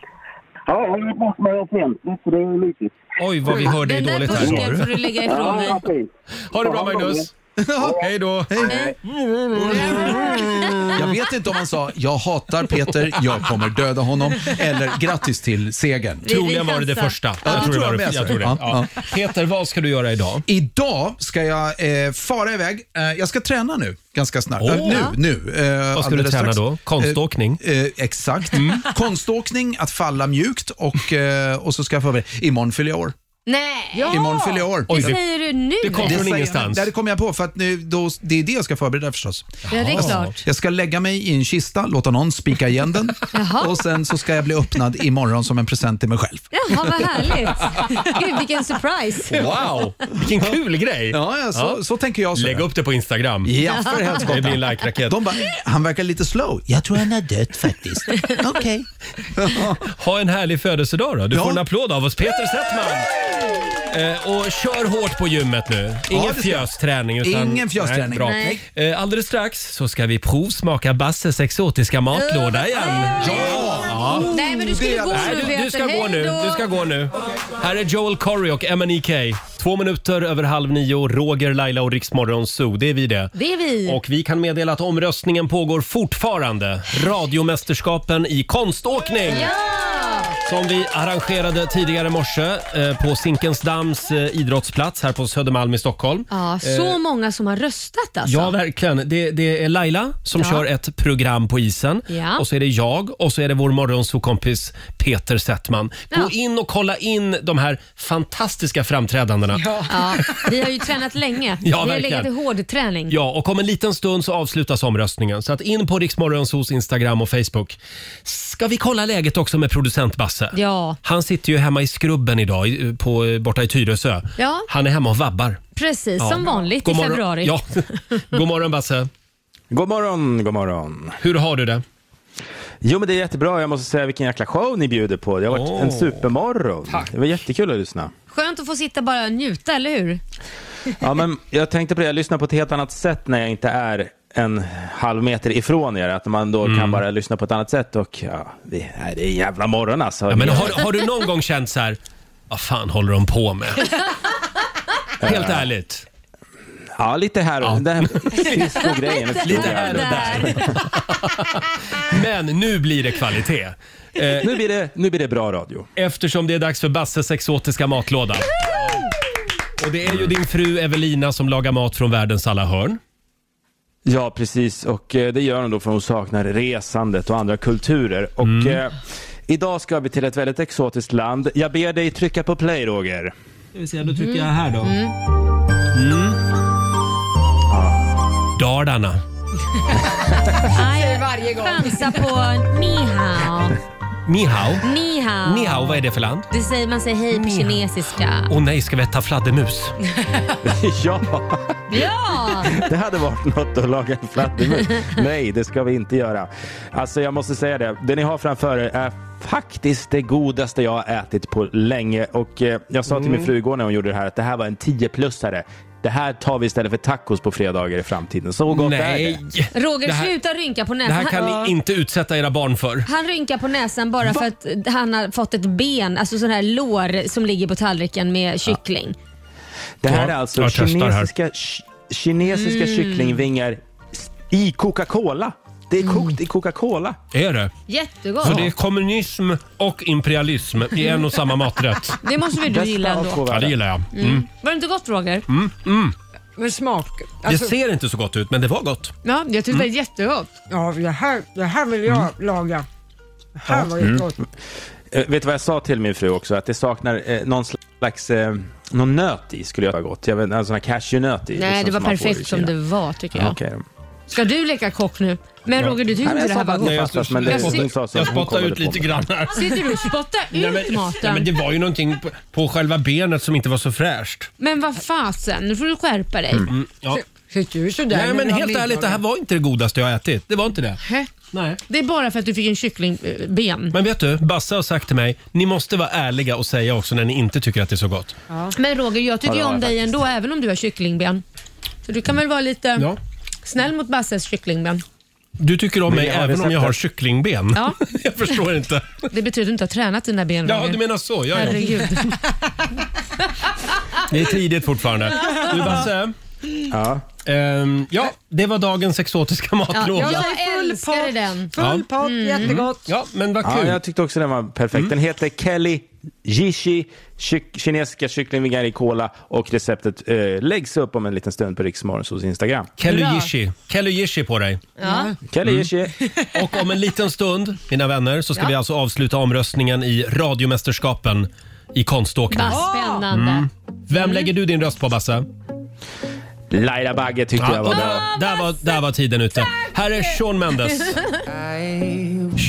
Ja, jag är bort med offentligt, så det är mysigt. Oj, vad vi hör dig Mm. Den där dåligt här. burken får du lägga ifrån dig. dig. Ha det bra Magnus! Hej då! Hej. Jag vet inte om han sa “Jag hatar Peter, jag kommer döda honom” eller “Grattis till segern”. Vi- vi Troligen var det det chansar. första. Ja, Jag det tror det tror var jag det- med. jag tror det. Ja. Peter, vad ska du göra idag? Idag ska jag eh, fara iväg. Eh, jag ska träna nu, ganska snart. Åh. Eh, nu, nu. Eh, Vad ska du alldeles träna strax. då? Konståkning? Mm. Eh, eh, exakt. Konståkning, att falla mjukt och, eh, och så ska jag förbereda. Imorgon fyller jag år. Nej! Imorgon Ah. fyller jag år. Det säger du nu. säger- Ja, det kom jag på, för att nu, då, det är det jag ska förbereda förstås. Ja, det är Jag- klart. Jag ska lägga mig i en kista, låta någon spika igen den Jaha. och sen så ska jag bli öppnad imorgon som en present till mig själv. Jaha, vad härligt. Gud, vilken surprise. Wow, vilken kul grej! Ja, ja, så- så tänker jag. Lägg upp det på Instagram. Ja, för helskotta. Det blir en like-raket. De bara, han verkar lite slow. Jag tror han har dött faktiskt. Okej. Ha en härlig födelsedag då. Du Ja. får en applåd av oss, Peter Settman. Eh, och kör hårt på gymmet nu. Ingen Ja, det ska jag. fjösträning. Utan, Ingen fjösträning. Nej, Nej. bra. Eh, alldeles strax så ska vi provsmaka Basses exotiska matlåda igen. Ja. Nej, men du skulle gå Nej, nu, du, du ska Peter. gå nu. Hej då. Du ska gå nu. Här är Joel Corey och MNEK. Två minuter över halv nio, Roger, Laila och Riksmorgon Zoo. Det är vi det. Det är vi. Och vi kan meddela att omröstningen pågår fortfarande. Radiomästerskapen i konståkning. Som vi arrangerade tidigare i morse eh, på Zinkensdamms eh, idrottsplats här på Södermalm i Stockholm. Ja, så Eh, många som har röstat alltså. Ja, verkligen. Det, det är Laila som Ja. kör ett program på isen. Ja. Och så är det jag och så är det vår morgonsokompis Peter Settman. Gå Ja. in och kolla in de här fantastiska framträdandena. Ja. Ja, vi har ju tränat länge. Ja, vi har verkligen. legat i hårdträning. och om en liten stund så avslutas omröstningen. Så att in på Riksmorgonsos Instagram och Facebook. Ska vi kolla läget också med producent Basse? Ja. Han sitter ju hemma i skrubben idag i- på, borta i Tyresö. Ja. Han är hemma och vabbar. Precis, Ja. som vanligt God i morgon- februari. Ja. God morgon Basse. God morgon, god morgon. Hur har du det? Jo men det är jättebra. Jag måste säga vilken jäkla show ni bjuder på. Det har varit en supermorgon. Det var jättekul att lyssna. Skönt att få sitta bara och njuta, eller hur? Ja, men jag tänkte på det, jag lyssnar på ett helt annat sätt när jag inte är en halv meter ifrån er. Att man då Mm. kan bara lyssna på ett annat sätt. Och ja, det, nej, det är en jävla morgon alltså. Ja, men har, har du någon gång känt så här, vad fan håller de på med? Helt Eh, ärligt. Ja, lite här och där. Disco-grejen. Lite här och Men nu blir det kvalitet. nu, blir det, nu blir det bra radio. Eftersom det är dags för Basses exotiska matlåda. Och det är ju din fru Evelina som lagar mat från världens alla hörn. Ja, precis. Och eh, det gör hon då för hon saknar resandet och andra kulturer. Och eh, idag ska vi till ett väldigt exotiskt land. Jag ber dig trycka på play, Roger. Ska vi se, då trycker jag här då. Mm. Mm. Dalarna. Nej, varje gång. Chansa på ni hao. Ni hao. Ni hao. Ni hao, vad är det för land? Det säger, man säger hej på kinesiska. Åh nej, ska vi äta fladdermus? ja, Ja! det hade varit något att laga en fladdermus. Nej, det ska vi inte göra. Alltså jag måste säga det, det ni har framför er är faktiskt det godaste jag har ätit på länge. Och eh, jag sa till Mm. min fru igår när hon gjorde det här att det här var en 10-plussare. Det här tar vi istället för tacos på fredagar i framtiden. Så gott Nej. är det. Roger, Det här- sluta rynka på Det näsan. här kan han, ni inte utsätta era barn för. han rynkar på näsan bara för att han har fått ett ben, alltså sån här lår som ligger på tallriken med kyckling. Det här Ja, är alltså jag testar här. kinesiska, ki- kinesiska Mm. kycklingvingar i Coca-Cola. Det Mm. är kokt i Coca-Cola. Är det? Jättegott. Så det är kommunism och imperialism i en och samma maträtt. Det måste väl du Bästa gilla av ändå? två Ja, det gillar jag. Mm. Mm. Var det inte gott Roger? Mm. Mm. Men smak... Det alltså- ser inte så gott ut, men det var gott. Ja, jag tyckte Mm. det var jättegott. Ja, det här, det här vill jag laga. Det här var ju Mm. gott. Eh, Vet du vad jag sa till min fru också? Att det saknar eh, någon slags eh, någon nöt i skulle jag ha gått. Jag vet, en sån här cashewnöt i. Nej, liksom, det var som man får i perfekt som Kina. det var tycker jag. Okej. Ska du leka kock nu? Men Ja. Roger, du tyckte Nej, inte men det här jag sa var bara- gott? Nej, jag Jag, stod- men det- det sa så. jag Hon spottade kollade ut på lite mig. grann här. Sitter du och spottar Nej, ut men, maten? nej, men men, det var ju någonting på, på själva benet som inte var så fräscht. vad fasen, nu får du skärpa dig. Mm, ja. Tyckte du sådär? Nej, men helt ärligt, det här var inte det godaste jag har ätit. Det var inte det. Nej. Det är bara för att du fick en eh, kycklingben. Men vet du, Bassa har sagt till mig, ni måste vara ärliga och säga också när ni inte tycker att det är så gott. Men Roger, jag tycker Ja, ju det har om jag dig faktiskt. ändå, även om du har kycklingben. Så du kan väl vara lite Ja. snäll mot Basses kycklingben. Du tycker om Men mig jag har även om jag har receptet. kycklingben. Ja. jag förstår inte. Det betyder inte att du har tränat dina ben, Ja, Roger. du menar så. Ja, ja. Herregud. Det är tidigt fortfarande. Du Basse. ehm, Ja. ja, det var dagens exotiska Ja, matlåda. jag älskade den. Full Ja. pott, jättegott. Ja, men vad Ja, kul. jag tyckte också den var perfekt. Mm. Den heter Kelly Jishi, kyck, kinesiska kycklingvingar i cola och receptet eh, läggs upp om en liten stund på Riksmorgonsols Instagram. Kelly Yishi. Kelly Yishi på dig. Ja. Kelly Mm. Yishi. Och om en liten stund, mina vänner, så ska Ja. vi alltså avsluta omröstningen i Radiomästerskapen i konståkning. Vad spännande. Mm. Vem Mm. lägger du din röst på, Basse? Laila Bagge tyckte jag var och bra. där, där, var, där var tiden ute. Här är Sean Mendes.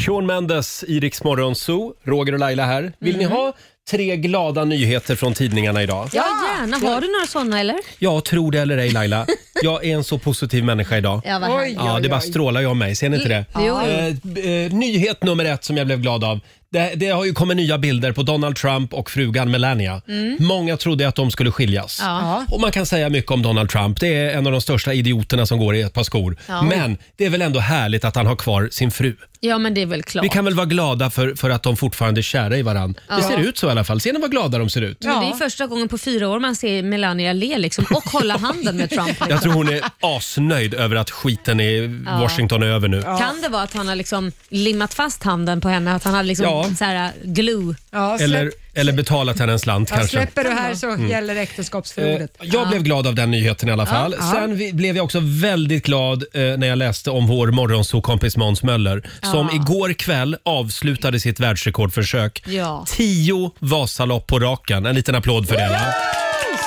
Sean Mendes i Rix Morgon Zoo. Roger och Laila här. Vill ni ha tre glada nyheter från tidningarna idag? Mhm. Ja, gärna. Har du några sådana eller? Jag tror det eller ej Laila. Jag är en så positiv människa idag. Ja, vad härligt. ja, det bara strålar ju om mig. Ser ni inte det? Jo. Eh, eh, nyhet nummer ett som jag blev glad av. Det, det har ju kommit nya bilder på Donald Trump och frugan Melania. Mm. Många trodde att de skulle skiljas. Ja. Och Man kan säga mycket om Donald Trump. Det är en av de största idioterna som går i ett par skor. Ja. Men det är väl ändå härligt att han har kvar sin fru. Ja, men det är väl klart. Vi kan väl vara glada för, för att de fortfarande är kära i varandra. Ja. Det ser ut så i alla fall. Ser ni vad glada de ser ut? Men Det är första gången på fyra år man ser Melania le liksom, och hålla handen med Trump. Liksom. Jag tror hon är asnöjd över att skiten i Ja. Washington är över nu. Kan det vara att han har liksom limmat fast handen på henne? Att han har liksom Ja. så här, glue? Eller, eller betalat henne en slant Ja, kanske. släpper du här så Mm. gäller Eh, äktenskapsförordet. jag blev glad av den nyheten i alla Ja. fall. Ja. Sen vi, blev jag också väldigt glad eh, när jag läste om vår morgonsokompis Måns Möller som Ja. igår kväll avslutade sitt världsrekordförsök. Ja. Tio Vasalopp på raken. En liten applåd för det. va?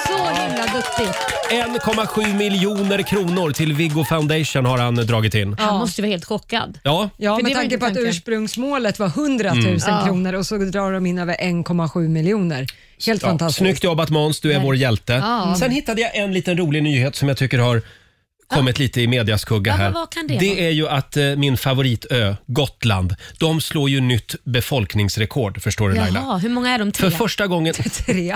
Så himla duktig. 1,7 miljoner kronor till Viggo Foundation har han dragit in. Han måste ju vara helt chockad. Ja, Ja, För det med var tanke inte på att tanken. ursprungsmålet var 100 000 Mm. Ja. kronor och så drar de in över 1,7 miljoner. Helt ja. fantastiskt. Snyggt jobbat Måns, du är vår hjälte. Mm. Ja. Sen hittade jag en liten rolig nyhet som jag tycker har kommit lite i medias skugga Ja, här. men vad kan det vara? är ju att eh, min favoritö, Gotland, de slår ju nytt befolkningsrekord förstår du Laila. Jaha, hur många är de? Tre? För första gången, Tre.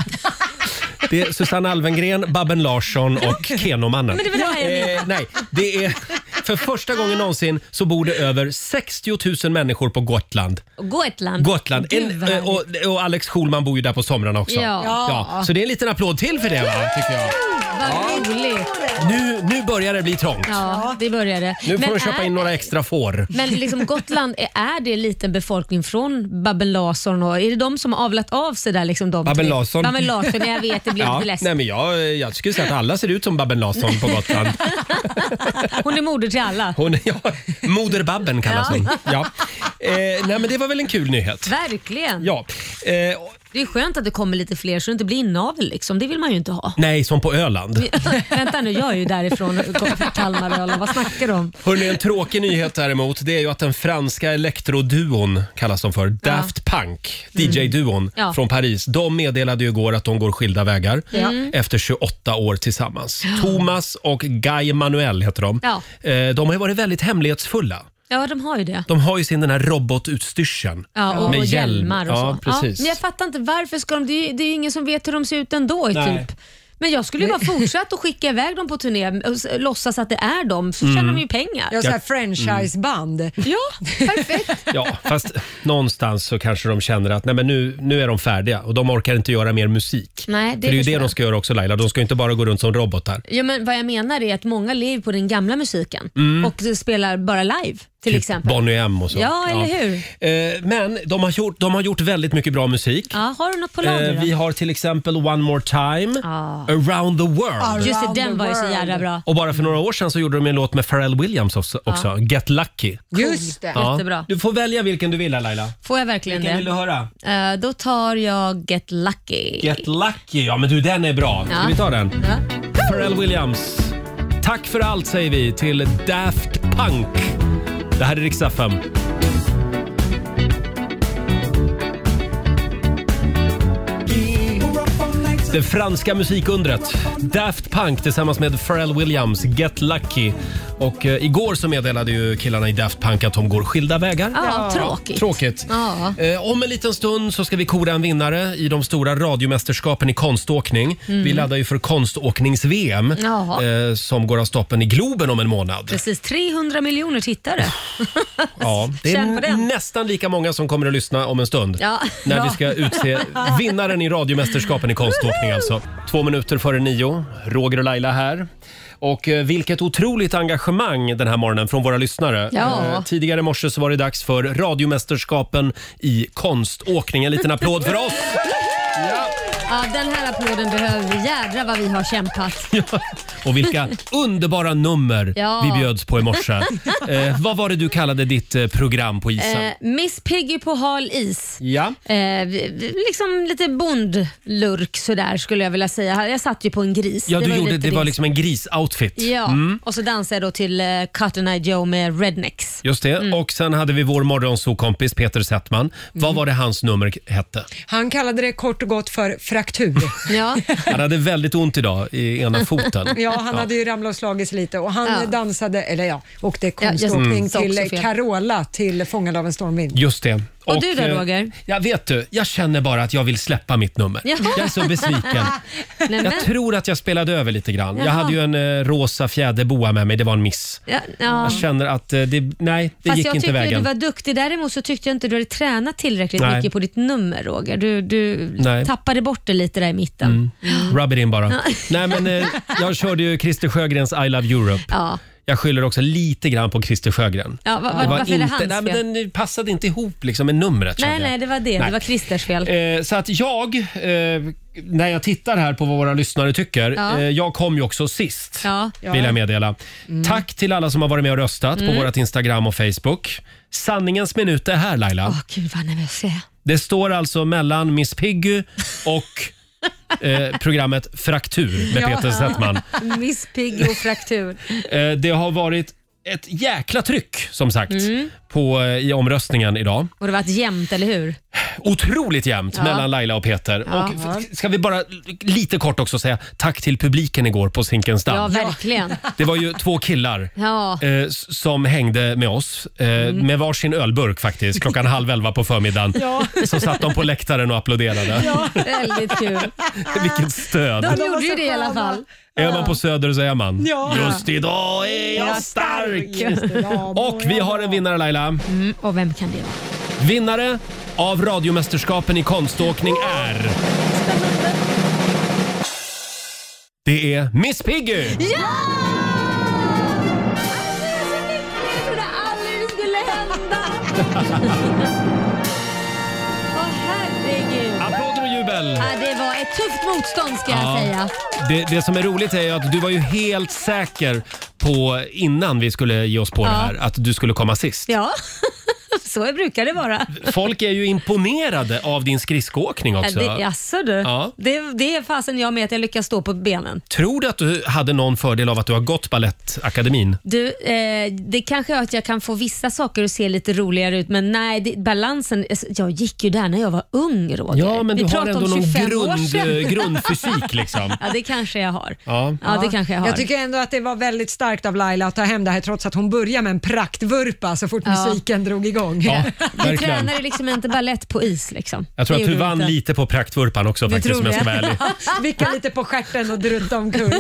det är Susanne Alvengren, Babben Larsson och Kenomannen. Men det var det här jag menade. eh, nej, det är för första gången någonsin så bor det över 60 000 människor på Gotland. Gotland. Gotland. Gud, En, vad eh, och, och Alex Schulman bor ju där på somrarna också. Ja. Så det är en liten applåd till för det va, tycker jag. Vad roligt. Nu, nu börjar det bli trångt. Ja, det började. Nu får Men de köpa är- in några extra får. Men liksom Gotland, är- är det liten befolkning från Babben Larsson? och- Är det de som har avlat av sig där? Liksom de Babben tre? Larsson. Babben Larsson, jag vet, det blir Ja, lite ledsen. nej men jag, jag skulle säga att alla ser ut som Babben Larsson på Gotland. Hon är moder till alla. Hon, ja, Moder Babben kallas Ja. hon. Ja. Eh, nej men det var väl en kul nyhet. Verkligen. Ja. Eh, Det är skönt att det kommer lite fler så det inte blir inavel liksom. Det vill man ju inte ha. Nej, som på Öland. Vänta nu, jag är ju därifrån. Kalmarölen, vad snackar du om? Hörrni, en tråkig nyhet däremot det är ju att den franska elektroduon kallas de för, Daft Punk, DJ-duon Mm. Ja. från Paris. De meddelade ju igår att de går skilda vägar Ja. Mm. efter 28 år tillsammans. Thomas och Guy Manuel heter de. Ja. Eh, De har ju varit väldigt hemlighetsfulla. Ja, de har ju det. De har ju sin den här robotutstyrseln Ja, och, och hjälm. hjälmar och ja, så. Precis. men jag fattar inte varför ska de, det är, ju, det är ju ingen som vet hur de ser ut ändå i Nej. typ. Men jag skulle ju bara fortsatt att skicka iväg dem på turné och s- låtsas att det är dem, så Mm. tjänar de ju pengar. Ja, Mm. så här franchiseband. Ja, perfekt. Ja, fast någonstans så kanske de känner att nej, men nu, nu är de färdiga och de orkar inte göra mer musik. Nej, Det, För det det är ju förstår det de jag. ska göra också Laila, de ska ju inte bara gå runt som robotar. Ja, men vad jag menar är att många lever på den gamla musiken Mm. och det spelar bara live till Typ exempel. Bonnie M och så. Ja, eller hur? Eh, Men de har, gjort, de har gjort väldigt mycket bra musik. Ja, har du något på lager Eh, då? Vi har till exempel One More Time, Ah. Around the World. Just det, den var ju så jävla bra. Och bara för några år sedan så gjorde de en låt med Pharrell Williams också, Ja. också Get Lucky. Just det. Jättebra. Du får välja vilken du vill här, Laila. Får jag verkligen Vilken det? vill du höra? Eh, då tar jag Get Lucky. Get Lucky, ja men du den är bra. Ska Ja. vi ta den? Ja. Pharrell Williams. Tack för allt säger vi till Daft Punk. Det här är Rix FM. Det franska musikundret Daft Punk tillsammans med Pharrell Williams, Get Lucky. Och eh, igår så meddelade ju killarna i Daft Punk att de går skilda vägar. Ja, tråkigt. Tråkigt. Ja. Eh, om en liten stund så ska vi kora en vinnare i de stora radiomästerskapen i konståkning. Mm. Vi laddar ju för konståknings-VM Jaha. eh, som går av stapeln i Globen om en månad. Precis, 300 miljoner tittare. Ja, det Känn på är den. nästan lika många som kommer att lyssna om en stund Ja. när Ja. vi ska utse vinnaren i radiomästerskapen i konståkning. Alltså. Två minuter före nio, Roger och Laila här. Och eh, vilket otroligt engagemang den här morgonen från våra lyssnare. Ja. Eh, Tidigare i morse så var det dags för radiomästerskapen i konståkning. En liten applåd för oss! Ja, den här applåden behöver vi. Jädrar vad vi har kämpat. Och vilka underbara nummer Ja. vi bjöds på i morse. Eh, vad var det du kallade ditt eh, program på isen? Eh, Miss Piggy på hal is. Ja. Eh, vi- vi- liksom lite bondlurk sådär skulle jag vilja säga. Jag satt ju på en gris. Ja, du ju gjorde, lite det var din- liksom en grisoutfit. Ja, Mm, och så dansade jag då till eh, Cotton Eye Joe med Rednecks. just det. Och sen hade vi vår morgonsokompis Peter Settman. Mm. Vad var det hans nummer hette? Han kallade det kort och gott för fraktur. ja. Han hade väldigt ont idag i ena foten. Ja, han hade ju ramlat och slagits lite och han Ja. dansade, eller ja, åkte jag Mm. konståkning sa också till fel. Carola till Fångad av en stormvind. Just det. Och du då, eh, Roger? Ja, vet du, jag känner bara att jag vill släppa mitt nummer. Ja. Jag är så besviken. Nej, men, Jag tror att jag spelade över lite grann. Jaha. Jag hade ju en eh, rosa fjäderboa med mig, det var en miss. ja, ja. Jag känner att eh, det, nej, det Fast gick jag inte tyckte vägen. du var duktig. Däremot så tyckte jag inte du hade tränat tillräckligt Nej. mycket på ditt nummer Roger. Du, du Nej. tappade bort det lite där i mitten. Mm. Rub it in bara. Ja. Nej, men eh, jag körde ju Christer Sjögrens I Love Europe. Ja. Jag skyller också lite grann på Christer Sjögren. Ja, va- va- varför är det hans nej, men fel? Den eh, passade inte ihop liksom, med numret. kände Nej, jag. nej, det var det. Nej. Det var Christers fel. Eh, så att jag, eh, när jag tittar här på vad våra lyssnare tycker, Ja. eh, jag kom ju också sist. Ja. Vill jag meddela. Tack till alla som har varit med och röstat Mm. på vårt Instagram och Facebook. Sanningens minut är här Laila. Gud vad nervös jag är. Det står alltså mellan Miss Piggy och eh, programmet Fraktur med Peter Settman. Miss Piggy och fraktur. Eh, det har varit ett jäkla tryck som sagt Mm. på, eh, i omröstningen idag. Och det var ett jämnt, eller hur? Otroligt jämnt Ja. mellan Laila och Peter. Ja. Och f- ska vi bara lite kort också säga tack till publiken igår på Zinkensdamm. Ja, verkligen. Det var ju två killar Ja. Mm. eh, s- som hängde med oss eh, med varsin ölburk faktiskt klockan halv elva på förmiddagen. Ja. Så satt de på läktaren och applåderade. Ja, väldigt kul. Vilket stöd! De gjorde ju det i alla fall. Är man på Söder så är man. Ja. Just idag är jag stark! Och vi har en vinnare Laila. Mm, och vem kan det vara? Vinnare av radiomästerskapen i konståkning är... Det är Miss Piggy! Ja! Jag trodde aldrig det skulle hända. Åh herregud. Applåder och jubel! Ja, det var ett tufft motstånd ska jag Ja. säga. Det, det som är roligt är ju att du var ju helt säker på innan vi skulle ge oss på Ja. det här att du skulle komma sist. Ja. Så brukar det vara. Folk är ju imponerade av din skridskoåkning också. Ja, Äh, det, jaså du. Ja. Det, det är fasen jag med att jag lyckas stå på benen. Tror du att du hade någon fördel av att du har gått Balettakademin? Du, eh, det kanske är att jag kan få vissa saker att se lite roligare ut, men nej, det, balansen. alltså, Jag gick ju där när jag var ung, Roger. Ja, men Vi du har pratar om ändå någon 25 år grund, eh, sedan. grundfysik liksom. Ja, det kanske jag har. Ja. Ja, det kanske jag har. Jag tycker ändå att det var väldigt starkt av Laila att ta hem det här trots att hon började med en praktvurpa så fort Ja. musiken drog igång. Du Verkligen. tränade liksom inte ballett på is. Liksom. Jag tror Det att du gjorde vann inte. lite på praktvurpan också Det faktiskt om jag ska vara ärlig. Vicka lite på stjärten och drunta omkull. Nej,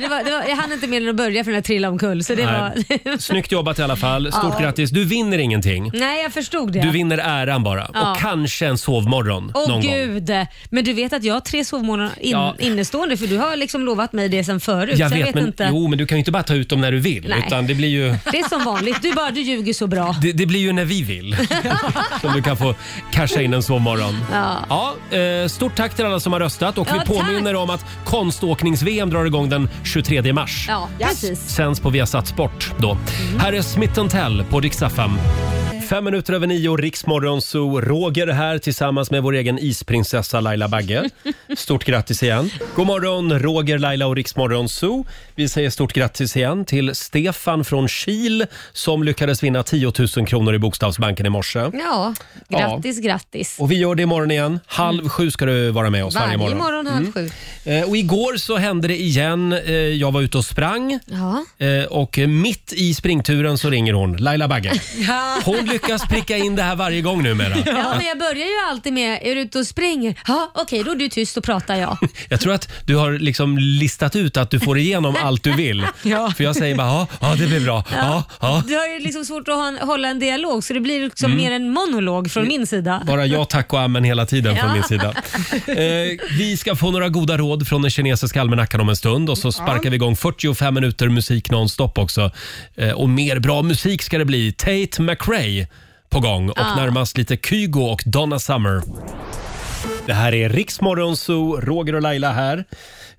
det var, det var, jag hann inte mer än att börja för den här trilla omkull. Så det Nej. var... Snyggt jobbat i alla fall. Stort Ja. grattis. Du vinner ingenting. Nej, jag förstod det. Du vinner äran bara. Ja. Och kanske en sovmorgon Åh någon gång. gud, men du vet att jag har tre sovmorgnar in, Ja. innestående för du har liksom lovat mig det sen förut. Jag så vet, men, inte. jo, men du kan ju inte bara ta ut dem när du vill. Nej. Utan det blir ju... Det är som vanligt, du bara du ljuger så bra. Det, det blir ju när vi vill som du kan få casha in en sovmorgon. Ja. Ja, eh, stort tack till alla som har röstat och Ja, vi påminner om att konståknings-VM drar igång den 23 mars. Ja, precis. Sänds på Viasat Sport då. Här är Smith Tell på Dix FM. Fem minuter över nio, Riksmorgon så Roger här tillsammans med vår egen isprinsessa Laila Bagge. Stort grattis igen. God morgon Roger, Laila och Riksmorgon Zoo. Vi säger stort grattis igen till Stefan från Kil som lyckades vinna 10 000 kronor i Bokstavsbanken i morse. Ja, grattis, grattis. Och vi gör det imorgon igen. Halv sju ska du vara med oss Varje varje morgon, morgon. halv Mm. sju. Eh, Och igår så hände det igen. Eh, Jag var ute och sprang. Ja. Eh, Och mitt i springturen så ringer hon, Laila Bagge. Ja. Hon lyckas pricka in det här varje gång numera. Ja, men jag börjar ju alltid med, är du ute och springer? Ja, okej, då är du tyst och pratar jag. Jag tror att du har liksom listat ut att du får igenom allt du vill. Ja. För jag säger bara ja, ja det blir bra. Ja, ja. Du har ju liksom svårt att ha en, hålla en dialog så det blir liksom Mm. mer en monolog från min sida. Bara ja tack och amen hela tiden från Ja. min sida. Eh, vi ska få några goda råd från den kinesiska almanackan om en stund och så sparkar Ja. vi igång 45 minuter musik nonstop också. Eh, och mer bra musik ska det bli. Tate McRae på gång och Ja. närmast lite Kygo och Donna Summer. Det här är Riksmorgon Zoo, Roger och Laila här.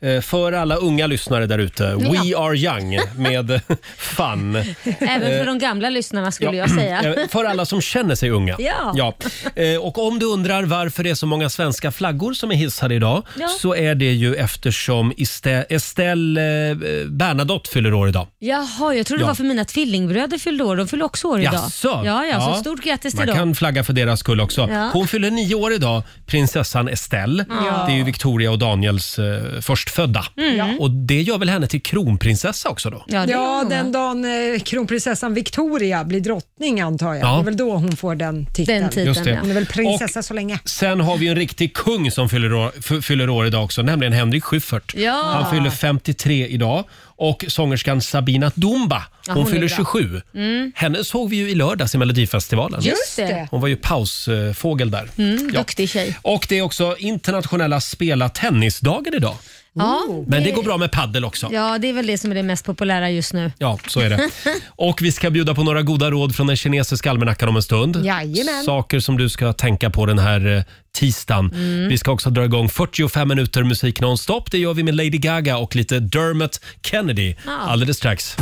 Eh, För alla unga lyssnare där ute, We Are Young med Fun. Även Eh, för de gamla lyssnarna skulle Ja. jag säga. Eh, För alla som känner sig unga. Ja. Eh, Och om du undrar varför det är så många svenska flaggor som är hissade idag Ja. så är det ju eftersom Este- Estelle eh, Bernadotte fyller år idag. Jaha, jag trodde Ja. det var för mina tvillingbröder fyllde år. De fyller också år idag. Jaså? Ja, ja, så stort grattis till Man dem. kan flagga för deras skull också. Ja. Hon fyller nio år idag, prinsessan Estelle. Ja. Det är ju Victoria och Daniels eh, förstfödda. Mm. Ja. Och det gör väl henne till kronprinsessa också då? Ja, det är hon, den dagen eh, kronprinsessan Victoria blir drottning antar jag. Ja. Det är väl då hon får den titeln. Den titeln, Just det. ja. Hon är väl prinsessa så länge. Sen har vi ju en riktig kung som fyller år, f- fyller år idag också, nämligen Henrik Schyffert. Ja. Han fyller Ah. 53 idag. Och sångerskan Sabina Dumba, Ja, hon, hon är fyller bra. 27. Mm. Henne såg vi ju i lördags i Melodifestivalen. Just det. Hon var ju pausfågel där. Mm, Ja. Duktig tjej. Och det är också internationella spela tennisdagen idag. Ja, Men det går bra med paddel också. Ja, det är väl det som är det mest populära just nu. Ja, så är det. Och vi ska bjuda på några goda råd från den kinesiska almanackan om en stund. Jajamän. Saker som du ska tänka på den här eh, tisdagen. Mm. Vi ska också dra igång 45 minuter musik nonstop. Det gör vi med Lady Gaga och lite Dermot Kennedy Ja. alldeles strax.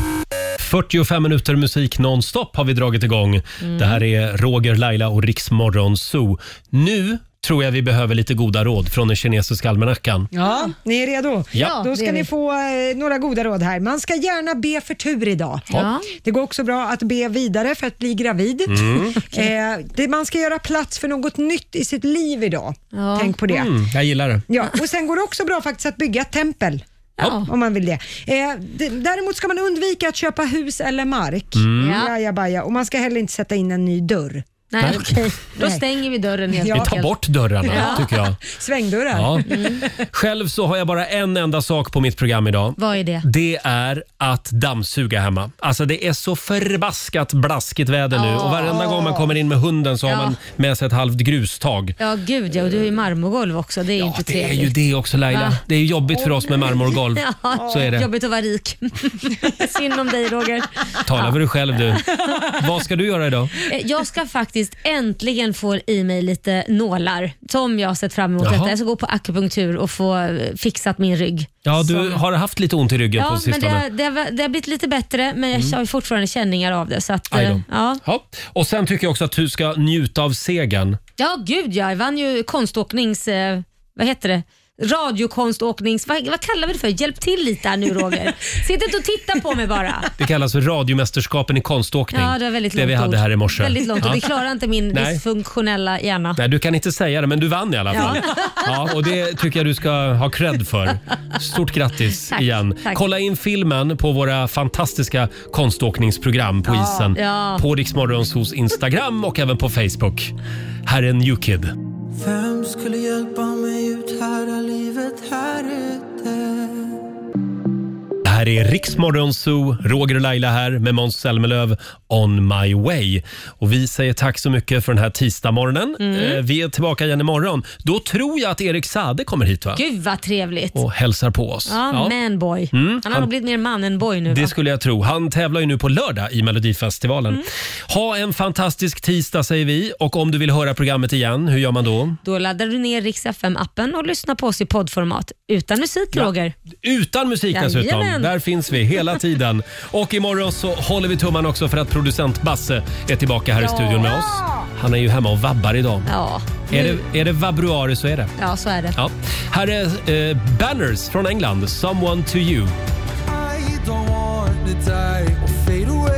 45 minuter musik nonstop har vi dragit igång. Mm. Det här är Roger, Laila och Riksmorgon Zoo. Nu tror jag vi behöver lite goda råd från den kinesiska almanackan. Ja, ni är redo? Ja. Då Det ska är vi. ni få eh, några goda råd här. Man ska gärna be för tur idag. Ja. Det går också bra att be vidare för att bli gravid. Mm. Eh, det, man ska göra plats för något nytt i sitt liv idag. Tänk på det. Mm, jag gillar det. Ja, och sen går det också bra faktiskt att bygga ett tempel. Ja. Om man vill det. Eh, d- däremot ska man undvika att köpa hus eller mark. Mm. Ja. Jajabaja. Och man ska heller inte sätta in en ny dörr. Nej, Nej. okej. Då stänger vi dörren helt Vi tar bort dörrarna, tycker jag. Svängdörrar. Ja. Mm. Själv så har jag bara en enda sak på mitt program idag. Vad är det? Det är att dammsuga hemma. Alltså det är så förbaskat blaskigt väder nu och varenda gång man kommer in med hunden så har Ja. man med sig ett halvt grustag. Ja, gud ja. Och du har ju marmorgolv också. Det är ju inte Det är trevligt. ju det också Laila. Va? Det är ju jobbigt för oss med marmorgolv. Ja, Så är det. Jobbigt att vara rik. Synd om dig Roger. Tala för dig själv du. Vad ska du göra idag? Eh, Jag ska faktiskt faktiskt äntligen får i mig lite nålar som jag har sett fram emot. Jaha. Detta. Jag ska gå på akupunktur och få eh, fixat min rygg. Ja, du har haft lite ont i ryggen på Ja, men det, sistone. har- det, har, det har blivit lite bättre, men jag Mm. har ju fortfarande känningar av det. Så att, eh, Aj då. ja. Ja. Och sen tycker jag också att du ska njuta av segern. ja, gud ja. Jag vann ju konståknings... Eh, vad heter det? Radiokonståknings... Vad, vad kallar vi det för? Hjälp till lite här nu Roger. Sitt inte och titta på mig bara. Det kallas för radiomästerskapen i konståkning. Ja, det var väldigt det vi långt hade ord. här i morse. Väldigt långt Ja. och det klarar inte min Nej. dysfunktionella hjärna. Nej, du kan inte säga det, men du vann i alla fall. Ja. Ja. och det tycker jag du ska ha cred för. Stort grattis Tack, igen. tack. Kolla in filmen på våra fantastiska konståkningsprogram på Ja, isen. ja. På Riksmorgons hos Instagram och även på Facebook. Här är New Kid. Vem skulle hjälpa mig ut här är livet här ute? Det här är Riksmorgon Zoo, Roger och Laila här med Måns Zelmerlöw, On My Way. Och vi säger tack så mycket för den här tisdagmorgonen. Mm. Eh, Vi är tillbaka igen imorgon. Då tror jag att Erik Sade kommer hit va? Gud vad trevligt. och hälsar på oss. Ja, manboy. Mm, Han har han- nog blivit mer man än boy nu va? Det skulle jag tro. Han tävlar ju nu på lördag i Melodifestivalen. Mm. Ha en fantastisk tisdag säger vi och om du vill höra programmet igen, hur gör man då? Då laddar du ner Rix FM-appen och lyssnar på oss i poddformat. Utan musik Roger. Utan musik dessutom. Jajamän. Där finns vi hela tiden. Och imorgon så håller vi tummarna också för att producent Basse är tillbaka här i Ja. studion med oss. Han är ju hemma och vabbar idag. Ja, Är nu- det, är det vabruari så är det. ja så är det. Ja. Här är eh, Banners från England, Someone to you. I don't want to die or fade away